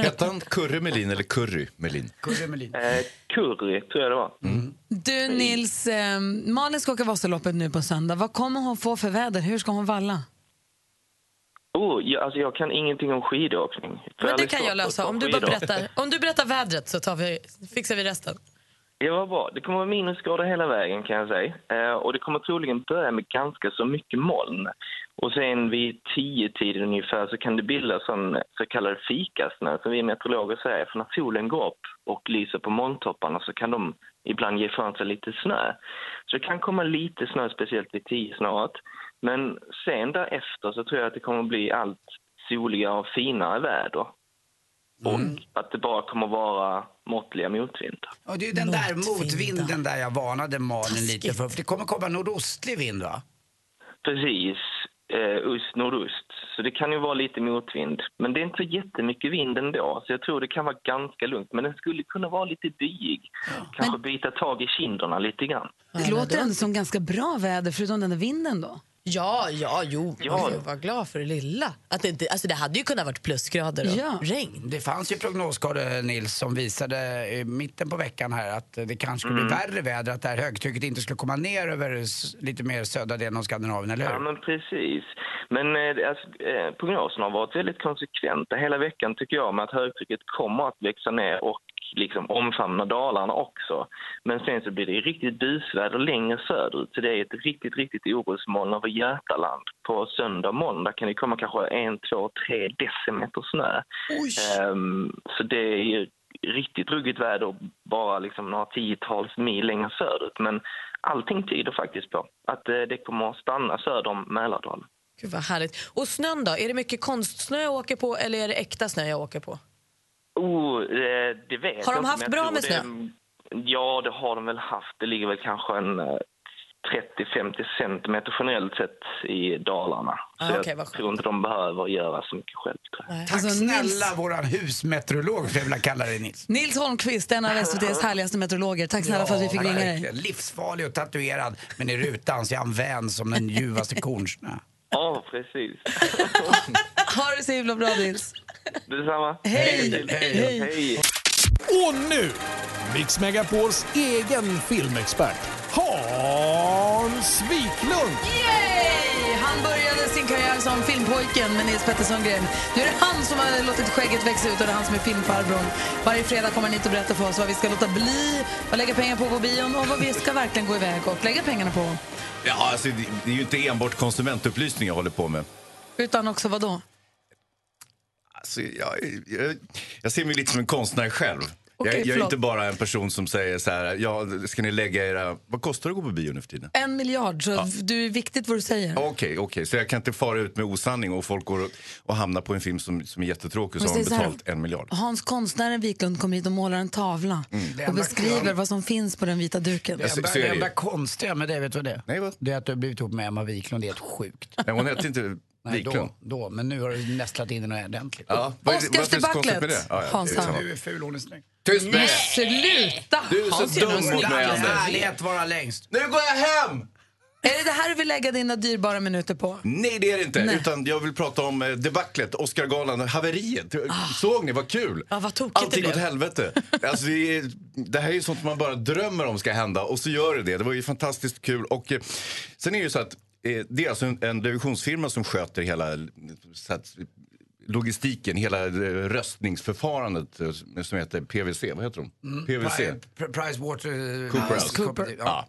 Speaker 14: Hette han Kurre Melin eller Curry Melin?
Speaker 2: Kurre Melin.
Speaker 6: Eh, curry tror jag det var.
Speaker 14: Mm.
Speaker 1: Du Nils, eh, Malin ska åka Vasaloppet nu på söndag. Vad kommer hon få för väder? Hur ska hon valla?
Speaker 6: Oh, jag, alltså, jag kan ingenting om skidåkning. För
Speaker 10: Men det
Speaker 6: aldrig
Speaker 10: kan jag
Speaker 6: stått
Speaker 10: lösa.
Speaker 6: på
Speaker 10: Om du, bara
Speaker 6: skidor.
Speaker 10: berättar, om du berättar vädret så tar vi, fixar vi resten.
Speaker 17: Det var bra. Det kommer vara minusgrader hela vägen kan jag säga. Eh, och det kommer troligen börja med ganska så mycket moln. Och sen vid tio tiden ungefär så kan det bildas sån så kallad fikasnö som vi meteorologer säger. För när solen går upp och lyser på molntopparna så kan de ibland ge ifrån sig lite snö. Så det kan komma lite snö, speciellt vid tio snart. Men sen därefter så tror jag att det kommer bli allt soligare och finare väder. Och att det bara kommer vara måttliga motvindar.
Speaker 2: Ja, det är ju den där motvinden där jag varnade Malin lite för. för. Det kommer komma nordostlig vind va?
Speaker 17: Precis. Eh, öst, nordost. Så det kan ju vara lite motvind. Men det är inte så jättemycket vind ändå, så jag tror det kan vara ganska lugnt. Men den skulle kunna vara lite byig. Kanske bita tag i kinderna lite grann.
Speaker 1: Det låter ändå som ganska bra väder, förutom den där vinden då.
Speaker 10: Ja, ja, jo.
Speaker 17: Ja.
Speaker 10: Man får vara glad för det lilla. Att det, inte, alltså det hade ju kunnat varit plusgrader och regn.
Speaker 2: Det fanns ju prognoskartor, Nils, som visade i mitten på veckan här att det kanske skulle bli
Speaker 17: Mm.
Speaker 2: värre väder, att det här högtrycket inte skulle komma ner över s- lite mer södra delen av Skandinavien, eller hur?
Speaker 17: Ja, men precis. Men eh, det- alltså, eh, prognosen har varit väldigt konsekventa hela veckan tycker jag med att högtrycket kommer att växa ner och liksom omfamna Dalarna också. Men sen så blir det riktigt busväder längre söderut. Så det är ett riktigt, riktigt orosmoln över Götaland. På söndag och måndag kan det komma kanske en, två, tre decimeter snö. Ehm, så det är ju riktigt ruggigt väder och bara liksom några tiotals mil längre söderut. Men allting tyder faktiskt på att eh, det kommer att stanna söder om Mälardalen.
Speaker 10: Gud vad härligt. Och snön då? Är det mycket konstsnö jag åker på eller är det äkta snö jag åker på?
Speaker 17: Oh, eh, det vet
Speaker 10: Har de
Speaker 17: jag inte,
Speaker 10: haft
Speaker 17: men jag
Speaker 10: bra
Speaker 17: tror
Speaker 10: med
Speaker 17: det- Ja, det har de väl haft. Det ligger väl kanske en eh, 30-50 centimeter generellt sett i Dalarna.
Speaker 2: Ah,
Speaker 17: Så
Speaker 2: okej,
Speaker 17: jag tror inte de behöver göra så mycket själv. tror jag.
Speaker 2: Tack
Speaker 1: Alltså,
Speaker 14: Alltså,
Speaker 2: snälla våran husmeteorolog, för jag vill kalla dig Nils.
Speaker 1: Nils Holmqvist, en av SVTs härligaste meteorologer. Tack snälla för att vi fick ringa dig.
Speaker 2: verkligen. Livsfarlig och tatuerad, men i rutan så är han vän som den ljuvaste kornsnö.
Speaker 17: Ja, precis.
Speaker 1: Ha det så himla bra, Nils.
Speaker 17: Detsamma.
Speaker 1: Hej!
Speaker 17: Hej! Hej.
Speaker 18: Och nu, Mix Megapols egen filmexpert, Hans Wiklund!
Speaker 1: Yay! Han började sin karriär som filmpojken med Nils Pettersson-gren. Nu är det han som har låtit skägget växa ut och det är han som är filmfarbrorn. Varje fredag kommer han hit och berättar för oss vad vi ska låta bli, vad lägga pengar på på bion och vad vi ska verkligen gå iväg och lägga pengarna på.
Speaker 14: Ja, alltså, det, det är ju inte enbart konsumentupplysning jag håller på med.
Speaker 1: Utan också vad då?
Speaker 14: Alltså, jag, jag, jag ser mig lite som en konstnär själv.
Speaker 1: Okej,
Speaker 14: jag, jag är
Speaker 1: förlåt.
Speaker 14: inte bara en person som säger så här, ja, ska ni lägga era... Vad kostar det att gå på bio nu för tiden?
Speaker 1: En miljard, så du är viktigt vad du säger.
Speaker 14: Okej, okej, så jag kan inte fara ut med osanning och folk går och, och hamnar på en film som, som är jättetråkig och
Speaker 1: Men
Speaker 14: så har de
Speaker 1: säg så här-
Speaker 14: betalt en miljard. Mm.
Speaker 1: Hans konstnären Wiklund kommer hit och målar en tavla och
Speaker 2: enda-
Speaker 1: beskriver vad som finns på den vita duken.
Speaker 2: Det enda, det enda konstiga med dig, vet du vad det är? Nej, Det är att du har blivit ihop med Emma Wiklund, det är helt sjukt.
Speaker 14: Nej, hon heter inte
Speaker 2: Nej,
Speaker 14: Wiklund.
Speaker 2: då, då, men nu har du nästlat in den ordentligt.
Speaker 14: Ja, vad är det- varför är det så Oscarsdebaclet, konstigt med det? Ja, ja, Hansa. det är samma.
Speaker 2: Du är ful, hon är snygg.
Speaker 14: Tyst med dig!
Speaker 1: Sluta!
Speaker 14: Du är så
Speaker 1: Hans
Speaker 14: dum
Speaker 1: nog
Speaker 14: mot mig,
Speaker 1: snackare.
Speaker 14: Anders.
Speaker 2: Härlighet vara längst.
Speaker 14: Nu går jag hem!
Speaker 1: Är det det här du vill lägga dina dyrbara minuter på?
Speaker 14: Nej, det är det inte. Utan jag vill prata om eh, debaclet, Oscargalan, haveriet. Såg ni? Vad kul!
Speaker 1: Ja, vad tokigt
Speaker 14: Allt gick åt helvete. Alltså, det, är, det här är ju sånt man bara drömmer om ska hända och så gör det det. Det var ju fantastiskt kul. Och eh, sen är det ju så att eh, det är alltså en, en revisionsfirma som sköter hela eh, så att, logistiken, hela eh, röstningsförfarandet eh, som heter PVC. Vad heter de? PVC.
Speaker 2: Pri- Price Water...
Speaker 14: Cooper.
Speaker 2: Cooper. Ja.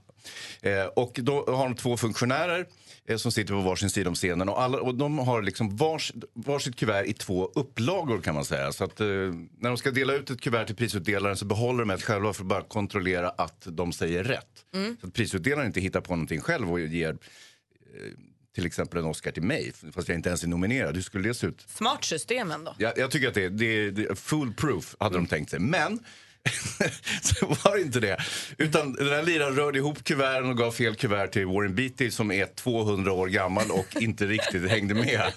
Speaker 14: Eh, och då har de två funktionärer eh, som sitter på varsin sida om scenen. Och, alla, och de har liksom vars, varsitt kuvert i två upplagor kan man säga. Så att eh, när de ska dela ut ett kuvert till prisutdelaren så behåller de ett själva för att bara kontrollera att de säger rätt. Så att prisutdelaren inte hittar på någonting själv och ger eh, till exempel en Oscar till mig, fast jag inte ens är nominerad. Hur skulle det se ut?
Speaker 10: Smart system ändå.
Speaker 14: Jag, jag tycker att det, det, det är full proof, hade de tänkt sig. Men så var det inte det. Utan den här liraren rörde ihop kuverten och gav fel kuvert till Warren Beatty som är 200 år gammal och inte riktigt hängde med.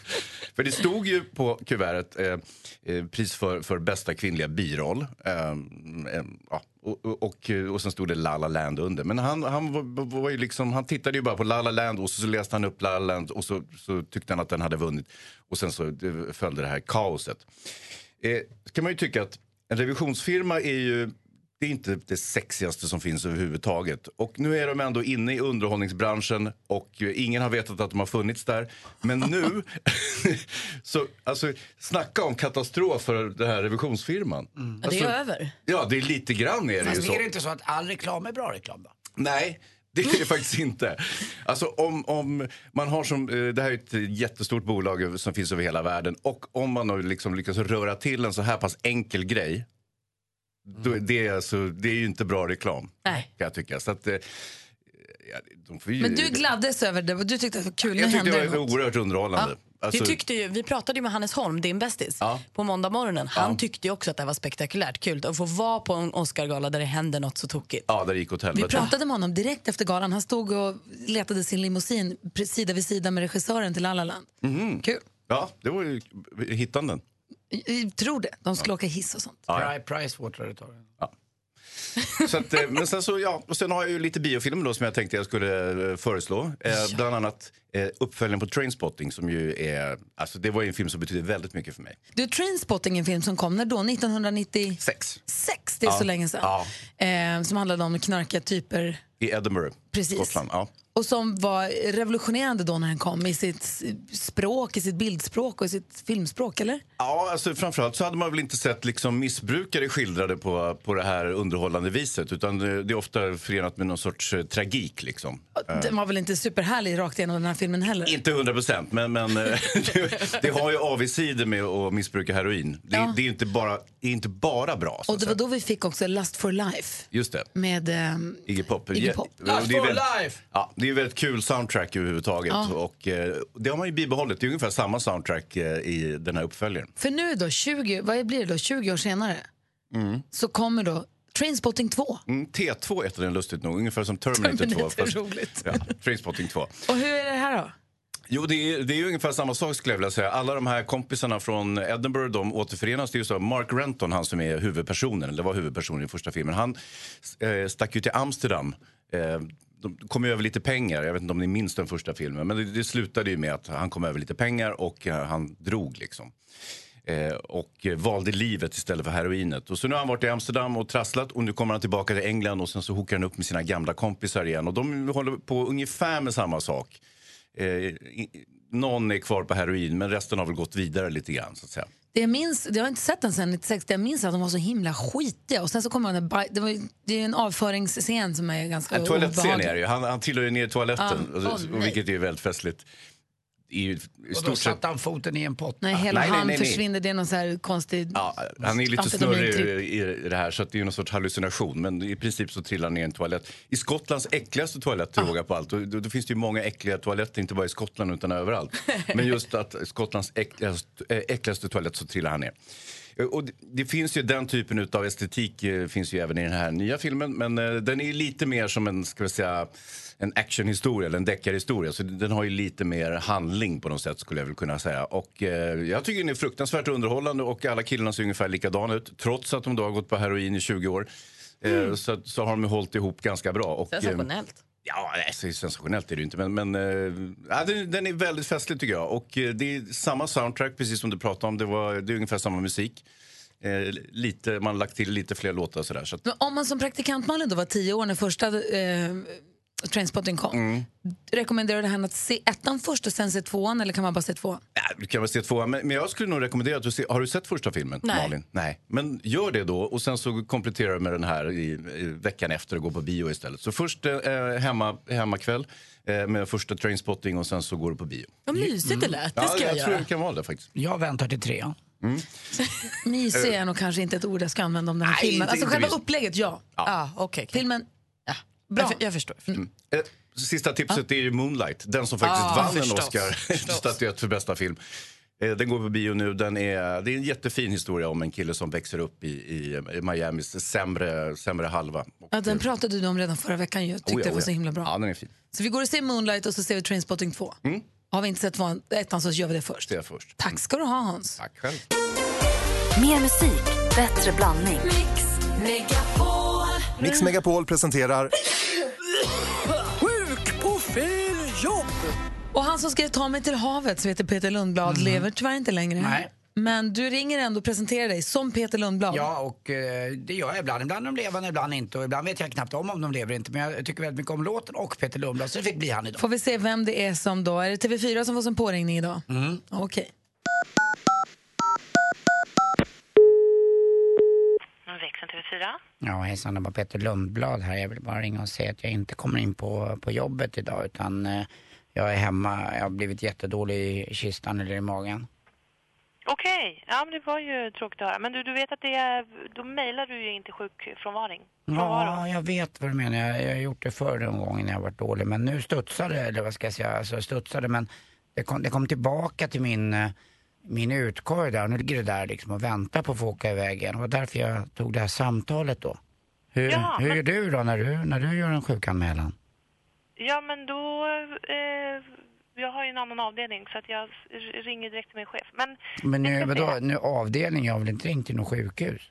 Speaker 14: För det stod ju på kuvertet eh, eh, pris för, för bästa kvinnliga biroll. Ehm, ehm, ja. och, och, och, och sen stod det La La Land under. Men han, han, var, var ju liksom, han tittade ju bara på La La Land och så, så läste han upp La La Land och så, så tyckte han att den hade vunnit. Och sen så eh, följde det här kaoset. Eh, kan man ju tycka att en revisionsfirma är ju det är inte det sexigaste som finns överhuvudtaget. Och nu är de ändå inne i underhållningsbranschen och ingen har vetat att de har funnits där. Men nu, så alltså, snacka om katastrof för den här revisionsfirman.
Speaker 3: Ja, det är
Speaker 14: Alltså,
Speaker 3: över.
Speaker 14: Ja, det är lite grann är det ju
Speaker 2: Fast
Speaker 14: så.
Speaker 2: är det inte så att all reklam är bra reklam då?
Speaker 14: Nej, det är det faktiskt inte. Alltså om, om man har som, eh, det här är ett jättestort bolag över- som finns över hela världen. Och om man har liksom lyckas röra till en så här pass enkel grej. Då, är det, är alltså, det är ju inte bra reklam.
Speaker 1: Nej.
Speaker 14: Kan jag tycka. Så att, eh, ja, de får ju,
Speaker 1: Men du gladdes över det och du tyckte att det var kul.
Speaker 14: Jag
Speaker 1: Nu
Speaker 14: tyckte
Speaker 1: hände
Speaker 14: det var oerhört underhållande.
Speaker 3: Ja.
Speaker 14: Alltså-
Speaker 3: det tyckte ju, vi pratade ju med Hannes Holm, din bästis, på måndag morgonen. Han tyckte ju också att det här var spektakulärt kul att få vara på en Oscargala där det händer något så tokigt.
Speaker 14: Ja, där det gick åt
Speaker 1: Vi
Speaker 14: helvete.
Speaker 1: pratade med honom direkt efter galan. Han stod och letade sin limousin pre- sida vid sida med regissören till La La Land.
Speaker 14: Mhm.
Speaker 1: Kul.
Speaker 14: Ja, det var ju hittanden.
Speaker 1: Jag- Jag tror det. De skulle åka hiss och sånt.
Speaker 14: Ja,
Speaker 2: Pri- Pricewater det tar.
Speaker 14: Så att, eh, men sen så, ja, och sen har jag ju lite biofilmer då som jag tänkte jag skulle eh, föreslå. Eh, Bland annat eh, uppföljaren på Trainspotting som ju är, alltså det var ju en film som betydde väldigt mycket för mig.
Speaker 1: Du, Trainspotting är en film som kom när då? 1996? Sex, det är
Speaker 14: Ja.
Speaker 1: så länge sedan.
Speaker 14: Ja,
Speaker 1: Eh, som handlade om knarkiga typer
Speaker 14: i Edinburgh,
Speaker 1: Precis.
Speaker 14: Skottland. Ja.
Speaker 1: och som var revolutionerande då när den kom i sitt s- språk, i sitt bildspråk och i sitt filmspråk, eller?
Speaker 14: Ja, alltså framförallt så hade man väl inte sett liksom missbrukare skildrade på, på det här underhållande viset utan eh, det det är ofta förenat med någon sorts eh, tragik liksom. Eh,
Speaker 1: Den var väl inte superhärlig rakt igenom den här filmen heller?
Speaker 14: Inte 100 procent, men, men eh, det, det har ju avigsidor med att missbruka heroin. Det,
Speaker 1: Ja.
Speaker 14: det är ju inte bara, det är inte bara bra. Så
Speaker 1: Och
Speaker 14: att
Speaker 1: det
Speaker 14: säga.
Speaker 1: var då vi fick också Lust for life
Speaker 14: Just det.
Speaker 1: med ehm,
Speaker 14: Iggy Pop.
Speaker 1: Iggy
Speaker 14: Ja,
Speaker 1: Pop.
Speaker 14: och det är
Speaker 1: Last for
Speaker 14: väldigt-
Speaker 1: life!
Speaker 14: Ja, det är ju väldigt kul soundtrack överhuvudtaget.
Speaker 1: Ja.
Speaker 14: Och, eh, det har man ju bibehållit. Det är ungefär samma soundtrack eh, i den här uppföljaren.
Speaker 1: För nu då, 20, vad blir det då, 20 år senare,
Speaker 14: Mm.
Speaker 1: så kommer då Trainspotting 2.
Speaker 14: Mm, T2 heter den lustigt nog, ungefär som Terminator,
Speaker 1: Terminator,
Speaker 14: 2. fast-
Speaker 1: roligt.
Speaker 14: Ja, Trainspotting 2.
Speaker 1: Och hur är det här då?
Speaker 14: Jo, det är, det är ju ungefär samma sak skulle jag vilja säga. Alla de här kompisarna från Edinburgh, de återförenas. Det är ju så att Mark Renton, han som är huvudpersonen, eller var huvudpersonen i första filmen, han eh, stack ju till Amsterdam. Eh, de kom ju över lite pengar, jag vet inte om ni minns den första filmen, men det, det slutade ju med att han kom över lite pengar och eh, han drog liksom. Eh, och eh, valde livet istället för heroinet. Och så nu har han varit i Amsterdam och trasslat och nu kommer han tillbaka till England och sen så hookar han upp med sina gamla kompisar igen. Och de håller på ungefär med samma sak. Eh, i- någon är kvar på heroin, men resten har väl gått vidare lite grann. Så att säga.
Speaker 1: Det jag minns, jag har inte sett den sen 96, det jag minns är att de var så himla skitiga. Och sen så kommer den där, baj- det, var, ju- det är ju en avföringsscen som är ganska
Speaker 14: En toalettscen
Speaker 1: obehaglig.
Speaker 14: är det ju. Han, han tillhör ju ner i toaletten,
Speaker 1: Ah,
Speaker 14: och-
Speaker 1: åh,
Speaker 14: och
Speaker 1: nej.
Speaker 14: vilket är ju väldigt festligt. I, i
Speaker 2: Och då
Speaker 14: stort sett,
Speaker 2: satte han foten i en pott.
Speaker 1: Nej, hela han försvinner, det är någon så här konstig...
Speaker 14: Ja, han är ju lite
Speaker 1: amfetamintripp.
Speaker 14: snurrig i i det här, så att det är ju någon sorts hallucination. Men i princip så trillar han ner i en toalett. I Skottlands äckligaste toalett, till råga på allt. Och då, då finns det ju många äckliga toaletter, inte bara i Skottland utan överallt. Men just att Skottlands äckligaste, eh, äckligaste toalett så trillar han ner. Eh, Och det, det finns ju den typen av estetik eh, finns ju även i den här nya filmen. Men eh, den är ju lite mer som en, ska vi säga, en actionhistoria eller en deckarhistoria. Så den har ju lite mer handling på något sätt skulle jag väl kunna säga. Och eh, jag tycker den är fruktansvärt underhållande och alla killarna ser ungefär likadana ut. Trots att de då har gått på heroin i 20 år. Eh, Så, att- så har de ju hållit ihop ganska bra. Och, eh,
Speaker 3: Sensationellt.
Speaker 14: Ja, nej, så sensationellt är det ju inte, men, men eh, ja, den, den är väldigt festlig tycker jag. Och eh, det är samma soundtrack, precis som du pratade om. Det, var, det är ungefär samma musik. Eh, lite, man har lagt till lite fler låtar sådär. Så att,
Speaker 1: Men om man som praktikant Malin då var tio år när första eh, Trainspotting kom,
Speaker 14: mm.
Speaker 1: rekommenderar du henne att se ettan först och sen se tvåan eller kan man bara se tvåan?
Speaker 14: Ja, Du kan väl se tvåan, men, men jag skulle nog rekommendera att du ser... Har du sett första filmen,
Speaker 1: Nej.
Speaker 14: Malin? Nej. Men gör det då och sen så kompletterar du med den här i, i veckan efter och går på bio istället. Så först eh, hemma, hemmakväll eh, med första Trainspotting och sen så går du på bio. Mm.
Speaker 3: Vad mysigt det lät. Det
Speaker 14: ja,
Speaker 3: ska
Speaker 14: jag,
Speaker 3: jag,
Speaker 14: tror
Speaker 3: göra.
Speaker 14: det kan vara det faktiskt.
Speaker 2: Jag väntar till trean.
Speaker 14: Mm.
Speaker 1: Mysig är nog kanske inte ett ord jag ska använda om den här
Speaker 3: Nej,
Speaker 1: filmen.
Speaker 3: inte-
Speaker 1: Alltså
Speaker 14: inte
Speaker 1: själva
Speaker 14: mysig.
Speaker 1: upplägget, ja.
Speaker 14: Ja.
Speaker 3: okej.
Speaker 1: Filmen, bra.
Speaker 3: Jag, jag förstår.
Speaker 14: Mm. Eh, Sista tipset är ju Moonlight, den som faktiskt
Speaker 3: Ah,
Speaker 14: vann en
Speaker 3: förstås,
Speaker 14: Oscar-statyett för bästa film. Eh, Den går på bio nu. Den är, det är en jättefin historia om en kille som växer upp i, i i Miamis sämre, sämre halva.
Speaker 1: Ja, den pratade du om redan förra veckan. Jag tyckte
Speaker 14: Oh ja,
Speaker 1: det var
Speaker 14: oh ja.
Speaker 1: så himla bra.
Speaker 14: Ja, Mm. den är fin.
Speaker 1: Så vi går och ser Moonlight och så ser vi Trainspotting 2. Har vi inte sett tvåan- ettan så gör vi det först.
Speaker 14: Det är först.
Speaker 1: Tack ska du ha Hans.
Speaker 14: Tack själv.
Speaker 5: Mer musik, bättre blandning.
Speaker 11: Mix Megapol presenterar
Speaker 1: Sjuk på fel jobb! Och han som skrev Ta mig till havet, som heter Peter Lundblad, lever tyvärr inte längre.
Speaker 2: Mhm. Nej.
Speaker 1: Men du ringer ändå och presenterar dig som Peter Lundblad.
Speaker 2: Ja, och eh, det gör jag ibland. Ibland är de levande, ibland inte. Och ibland vet jag knappt om om de lever inte. Men jag tycker väldigt mycket om låten och Peter Lundblad, så det fick bli han idag.
Speaker 1: Får vi se vem det är som då... Är det TV4 som får som påringning idag?
Speaker 2: Mm.
Speaker 1: Okej.
Speaker 19: Växeln TV4.
Speaker 2: Ja, hejsan, det var Peter Lundblad här. Jag vill bara ringa och säga att jag inte kommer in på, på jobbet idag utan eh, jag är hemma. Jag har blivit jättedålig i kistan eller i magen.
Speaker 19: Okej, ja men det var ju tråkigt att höra. Men du, du vet att det är, då mejlar du ju inte sjukfrånvaring.
Speaker 2: Ja, jag vet vad du menar. Jag, jag har gjort det förr någon gång när jag varit dålig. Men nu studsade, eller vad ska jag säga, alltså studsade. Men det kom, det kom tillbaka till min, eh, min utkorg där. Nu ligger det där liksom och väntar på att få åka iväg igen. Det var därför jag tog det här samtalet då. Hur,
Speaker 19: Ja,
Speaker 2: hur
Speaker 19: men-
Speaker 2: gör du då när du, när du gör en sjukanmälan?
Speaker 19: Ja men då, eh, jag har ju en annan avdelning så att jag r- ringer direkt till min chef. Men
Speaker 2: Men nu,
Speaker 19: jag ska
Speaker 2: vadå,
Speaker 19: se.
Speaker 2: nu avdelning, jag har väl inte ringt till något sjukhus?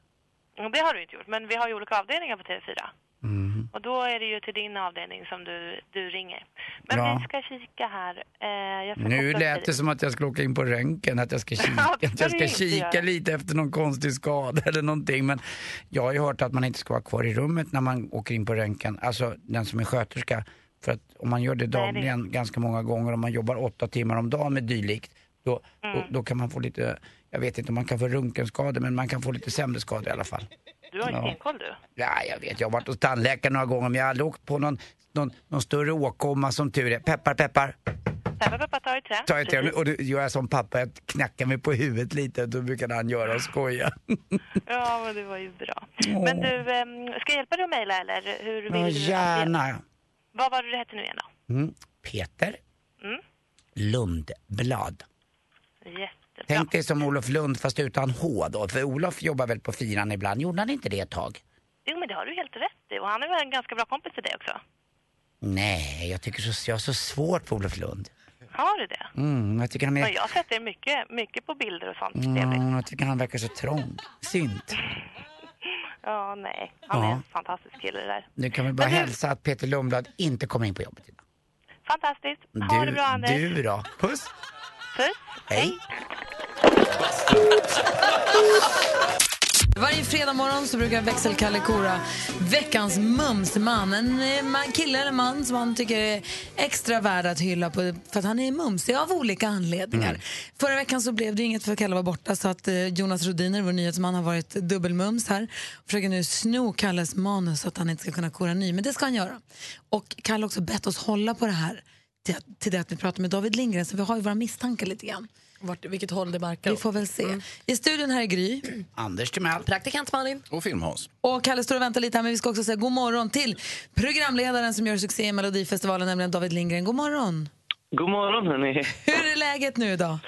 Speaker 19: det har du inte gjort. Men vi har ju olika avdelningar på TV4.
Speaker 2: Mm.
Speaker 19: Och då är det ju till din avdelning som du, du ringer. Men
Speaker 2: Bra.
Speaker 19: vi ska kika här. Eh, jag ska
Speaker 2: Nu
Speaker 19: koppla
Speaker 2: lät
Speaker 19: upp
Speaker 2: det
Speaker 19: dig.
Speaker 2: som att jag skulle åka in på röntgen, att jag ska kika,
Speaker 19: Ja, det
Speaker 2: att
Speaker 19: ska
Speaker 2: jag
Speaker 19: du
Speaker 2: ska
Speaker 19: inte
Speaker 2: kika
Speaker 19: göra.
Speaker 2: lite efter någon konstig skada eller någonting. Men jag har ju hört att man inte ska vara kvar i rummet när man åker in på röntgen, alltså den som är sköterska. För att om man gör
Speaker 19: Nej,
Speaker 2: det
Speaker 19: det-
Speaker 2: dagligen ganska många gånger, om man jobbar åtta timmar om dagen med dylikt, då, då,
Speaker 19: Mm.
Speaker 2: då kan man få lite, jag vet inte om man kan få röntgenskador, men man kan få lite sämre skador i alla fall.
Speaker 19: Du har ju
Speaker 2: Ja.
Speaker 19: stenkoll du.
Speaker 2: Ja, jag vet. Jag har varit hos tandläkaren några gånger, men jag har aldrig åkt på någon, någon, någon större åkomma som tur är. Peppar, peppar.
Speaker 19: Peppar, peppar, ta i trä.
Speaker 2: Tar jag till
Speaker 19: Precis.
Speaker 2: och det gör jag som pappa, jag knackar mig på huvudet lite. Då brukade han göra och skoja.
Speaker 19: Ja, men det var ju bra.
Speaker 2: Åh.
Speaker 19: Men du, ehm, ska jag hjälpa dig att mejla eller? Hur vill
Speaker 2: Ja,
Speaker 19: du?
Speaker 2: gärna.
Speaker 19: Vad var det du hette nu igen då?
Speaker 2: Mm. Peter
Speaker 19: Mm.
Speaker 2: Lundblad.
Speaker 19: Jättebra.
Speaker 2: Tänk dig som Olof Lund fast utan H då. För Olof jobbar väl på fyran ibland? Gjorde han inte det ett tag?
Speaker 19: Jo, men det har du helt rätt i. Och han är väl en ganska bra kompis till dig också?
Speaker 2: Nej, jag tycker så, jag har så svårt på Olof Lund.
Speaker 19: Har du det?
Speaker 2: Mm, jag tycker han
Speaker 19: Ja,
Speaker 2: är...
Speaker 19: jag har sett dig mycket, mycket på bilder och sånt.
Speaker 2: Mm, jag tycker han verkar så trång. Synd.
Speaker 19: Ja, nej. Han är
Speaker 2: Ja.
Speaker 19: en fantastisk kille det där.
Speaker 2: Nu kan vi bara hälsa att Peter Lundblad inte kommer in på jobbet idag.
Speaker 19: Fantastiskt.
Speaker 2: Mm.
Speaker 19: Ha det bra, Anders.
Speaker 2: du då? Puss!
Speaker 19: Puss.
Speaker 2: Hej!
Speaker 1: Varje fredag morgon så brukar växelkalle kora veckans mumsman. En eh, man, kille eller man som han tycker är extra värd att hylla på, för att han är mumsig av olika anledningar. Förra veckan så blev det inget för att Kalle var borta så att eh, Jonas Rodiner, vår nyhetsman, har varit dubbelmums här. Försöker nu sno Kalles manus så att han inte ska kunna kora ny, men det ska han göra. Och Kalle har också bett oss hålla på det här till, till det att vi pratar med David Lindgren, så vi har ju våra misstankar lite grann.
Speaker 10: Vart, vilket håll det barkar
Speaker 1: Vi får väl se. I studion här är Gry.
Speaker 2: Anders Timell.
Speaker 1: Praktikant Malin.
Speaker 14: Och Film-Hans.
Speaker 1: Och Kalle står och väntar lite här, men vi ska också säga god morgon till programledaren som gör succé i Melodifestivalen, nämligen David Lindgren. God morgon!
Speaker 12: God morgon, hörni.
Speaker 1: Hur är läget nu då?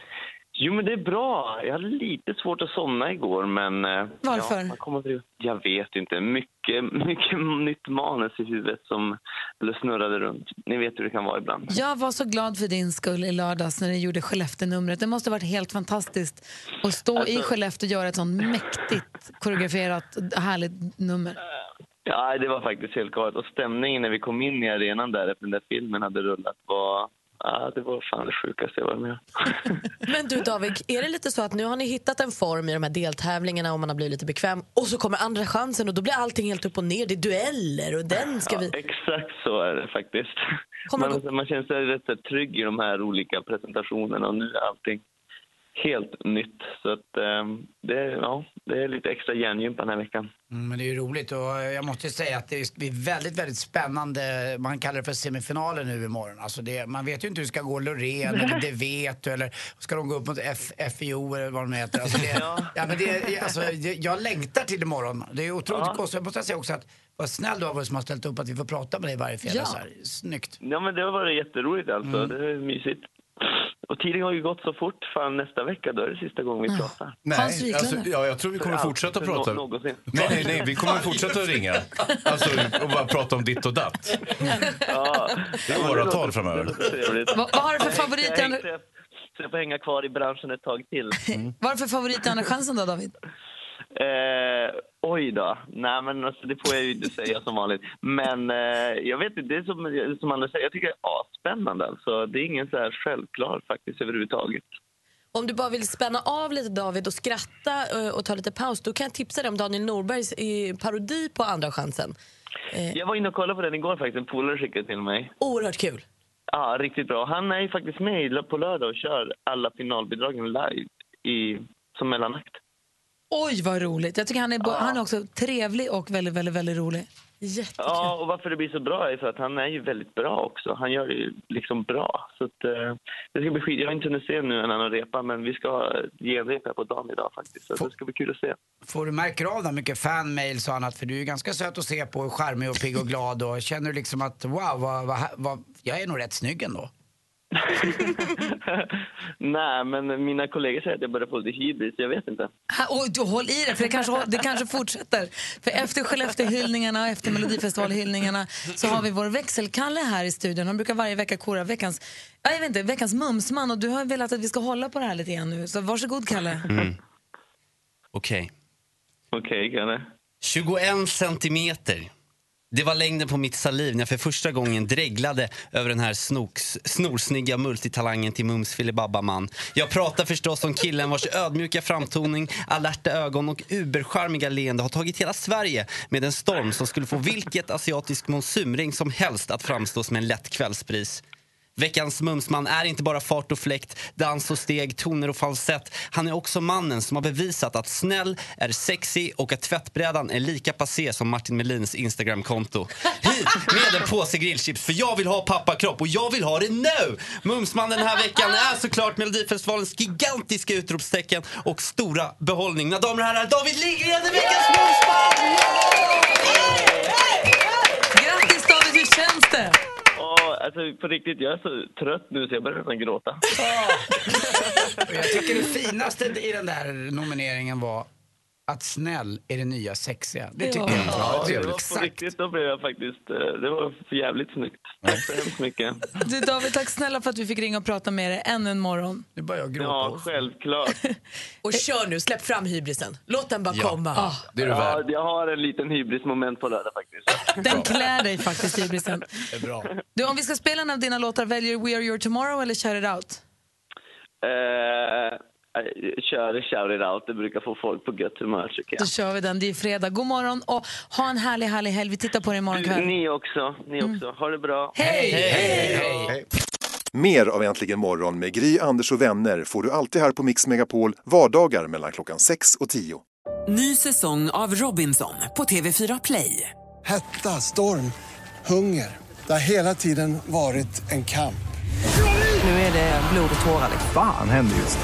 Speaker 12: Jo, men det är bra. Jag hade lite svårt att somna igår, men... eh,
Speaker 1: Varför?
Speaker 12: Ja, man kommer till... Jag vet inte. Mycket, mycket nytt manus i huvudet som eller snurrade runt. Ni vet hur det kan vara ibland.
Speaker 1: Jag var så glad för din skull i lördags när du gjorde Skellefteå-numret. Det måste ha varit helt fantastiskt att stå i Skellefteå och göra ett sånt mäktigt koreograferat härligt nummer.
Speaker 12: Ja, det var faktiskt helt galet. Och stämningen när vi kom in i arenan där efter den där filmen hade rullat var... Ja, det var fan det sjukaste jag varit med om.
Speaker 10: Men du David, är det lite så att nu har ni hittat en form i de här deltävlingarna och man har blivit lite bekväm och så kommer andra chansen och då blir allting helt upp och ner. Det är dueller och den ska vi...
Speaker 12: Ja, exakt så är det faktiskt.
Speaker 10: Kommer
Speaker 12: Man, man känner sig rätt så trygg i de här olika presentationerna och nu är allting helt nytt. Så att, ehm, det, är- ja, det är lite extra hjärngympa den här veckan.
Speaker 2: Mm, Men det är ju roligt och jag måste säga att det blir väldigt, väldigt spännande. Man kallar det för semifinaler nu imorgon. Alltså det, man vet ju inte hur det ska gå Loreen eller De Veto eller ska de gå upp mot F, FIO eller vad de heter. Alltså det, ja. men det, alltså, det- jag längtar till imorgon. Det är otroligt
Speaker 12: Ja.
Speaker 2: ja. Jag måste säga också att vad snäll du har varit som har ställt upp att vi får prata med dig varje fredag.
Speaker 12: Ja.
Speaker 2: Så här. Snyggt.
Speaker 12: Ja, men det har varit jätteroligt alltså.
Speaker 2: Mm.
Speaker 12: Det är mysigt. Och tiden har ju gått så fort. Fan, nästa vecka då är det sista gången
Speaker 10: Ah.
Speaker 12: vi pratar.
Speaker 14: Nej, alltså, ja, jag tror vi kommer
Speaker 12: För
Speaker 14: fortsätta
Speaker 12: allt, för
Speaker 14: prata.
Speaker 12: nå- någonsin.
Speaker 14: Nej, nej, nej, vi kommer fortsätta ringa. Alltså, och bara prata om ditt och datt. Det är åratal framöver.
Speaker 12: Trevligt.
Speaker 1: Vad- vad har du för favorit i
Speaker 12: Jag,
Speaker 1: andra-
Speaker 12: jag, jag, jag får hänga kvar i branschen ett tag till.
Speaker 1: Vad är det för favorit i Andra chansen då, David?
Speaker 12: Eh, oj då. Nej, men alltså, det får jag ju inte säga som vanligt. Men eh, jag vet inte, det är som, som Anders säger, jag tycker det är asspännande. Alltså. Det är ingen så här självklar faktiskt överhuvudtaget.
Speaker 3: Om du bara vill spänna av lite David och skratta eh, och ta lite paus, då kan jag tipsa dig om Daniel Norbergs eh, parodi på Andra chansen.
Speaker 10: Eh,
Speaker 12: Jag var inne och kollade på den igår faktiskt. En polare skickade till mig.
Speaker 3: Oerhört kul.
Speaker 12: Ja, riktigt bra. Han är ju faktiskt med i- på lördag och kör alla finalbidragen live i, som mellanakt.
Speaker 1: Oj, vad roligt. Jag tycker han är, bo- han är också trevlig och väldigt, väldigt, väldigt rolig.
Speaker 12: Ja, och varför det blir så bra är för att han är ju väldigt bra också. Han gör det ju liksom bra. Så att, eh, det ska bli skit. Jag har inte hunnit se nu när han repar, men vi ska ha ett genrep här på dagen idag faktiskt. Så att det ska bli kul att se.
Speaker 2: Får du märker av det mycket fanmails och annat? För du är ju ganska söt att se på, charmig och pigg och glad och känner du liksom att wow, vad, vad, vad, jag är nog rätt snygg ändå.
Speaker 12: Nej, men mina kollegor säger att jag börjar få lite hybris. Jag vet inte.
Speaker 1: Ha- Och du, håll i det, för det kanske, det kanske fortsätter. För efter Skellefteåhyllningarna och efter Melodifestivalhyllningarna så har vi vår växelkalle här i studion. Han brukar varje vecka kora veckans, ja, jag vet inte, veckans mumsman och du har velat att vi ska hålla på det här lite grann nu. Så varsågod Kalle.
Speaker 20: Mm. Okej.
Speaker 12: Okej, Kalle.
Speaker 20: 21 centimeter. Det var längden på mitt saliv när jag för första gången dreglade över den här snoks, snorsnygga multitalangen till Mums filibabbaman. Jag pratar förstås om killen vars ödmjuka framtoning, alerta ögon och uberskärmiga leende har tagit hela Sverige med en storm som skulle få vilket asiatisk monsumring som helst att framstå som en lätt kvällspris. Veckans mumsman är inte bara fart och fläkt, dans och steg, toner och falsett. Han är också mannen som har bevisat att snäll är sexy och att tvättbrädan är lika passé som Martin Melins Instagramkonto. Hit med en påse grillchips, för jag vill ha pappakropp och jag vill ha det nu! Mumsman den här veckan är såklart Melodifestivalens gigantiska utropstecken och stora behållning. Mina damer och herrar, David Lindgren är veckans mumsman!
Speaker 1: Grattis David, hur känns det?
Speaker 12: Åh, alltså, på riktigt, jag är så trött nu så jag börjar nästan gråta.
Speaker 2: Och jag tycker det finaste i den där nomineringen var att snäll är det nya sexiga. Det tycker jag
Speaker 12: Ja,
Speaker 2: var
Speaker 12: det
Speaker 2: trevligt.
Speaker 12: var på riktigt. Då blev jag faktiskt... eh, Det var för jävligt snyggt. Tack så hemskt mycket.
Speaker 1: Du David, tack snälla för att vi fick ringa och prata med dig ännu en morgon.
Speaker 2: Nu börjar jag
Speaker 12: Ja, självklart.
Speaker 3: Och kör nu, släpp fram hybrisen. Låt den bara komma.
Speaker 2: Ah.
Speaker 12: Det är du ja, jag har en liten hybrismoment på lördag faktiskt.
Speaker 1: Den klär dig faktiskt, hybrisen.
Speaker 2: Det är bra.
Speaker 1: Du, om vi ska spela en av dina låtar, väljer du We Are Your Tomorrow eller Shout It Out?
Speaker 12: Eh, kör shout it out. Det brukar få folk på gött humör tycker
Speaker 1: Då
Speaker 12: jag.
Speaker 1: kör vi den. Det är fredag. God morgon och ha en härlig, härlig helg. Vi tittar på dig imorgon kväll.
Speaker 12: Ni också. Ni också. Ha det bra.
Speaker 1: Hej! Hej!
Speaker 11: Mer av Äntligen morgon med Gry, Anders och vänner får du alltid här på Mix Megapol vardagar mellan klockan 6 och 10.
Speaker 21: Ny säsong av Robinson på TV4 Play.
Speaker 9: Hetta, storm, hunger. Det har hela tiden varit en kamp.
Speaker 21: Nu är det blod och tårar.
Speaker 22: Fan händer just nu.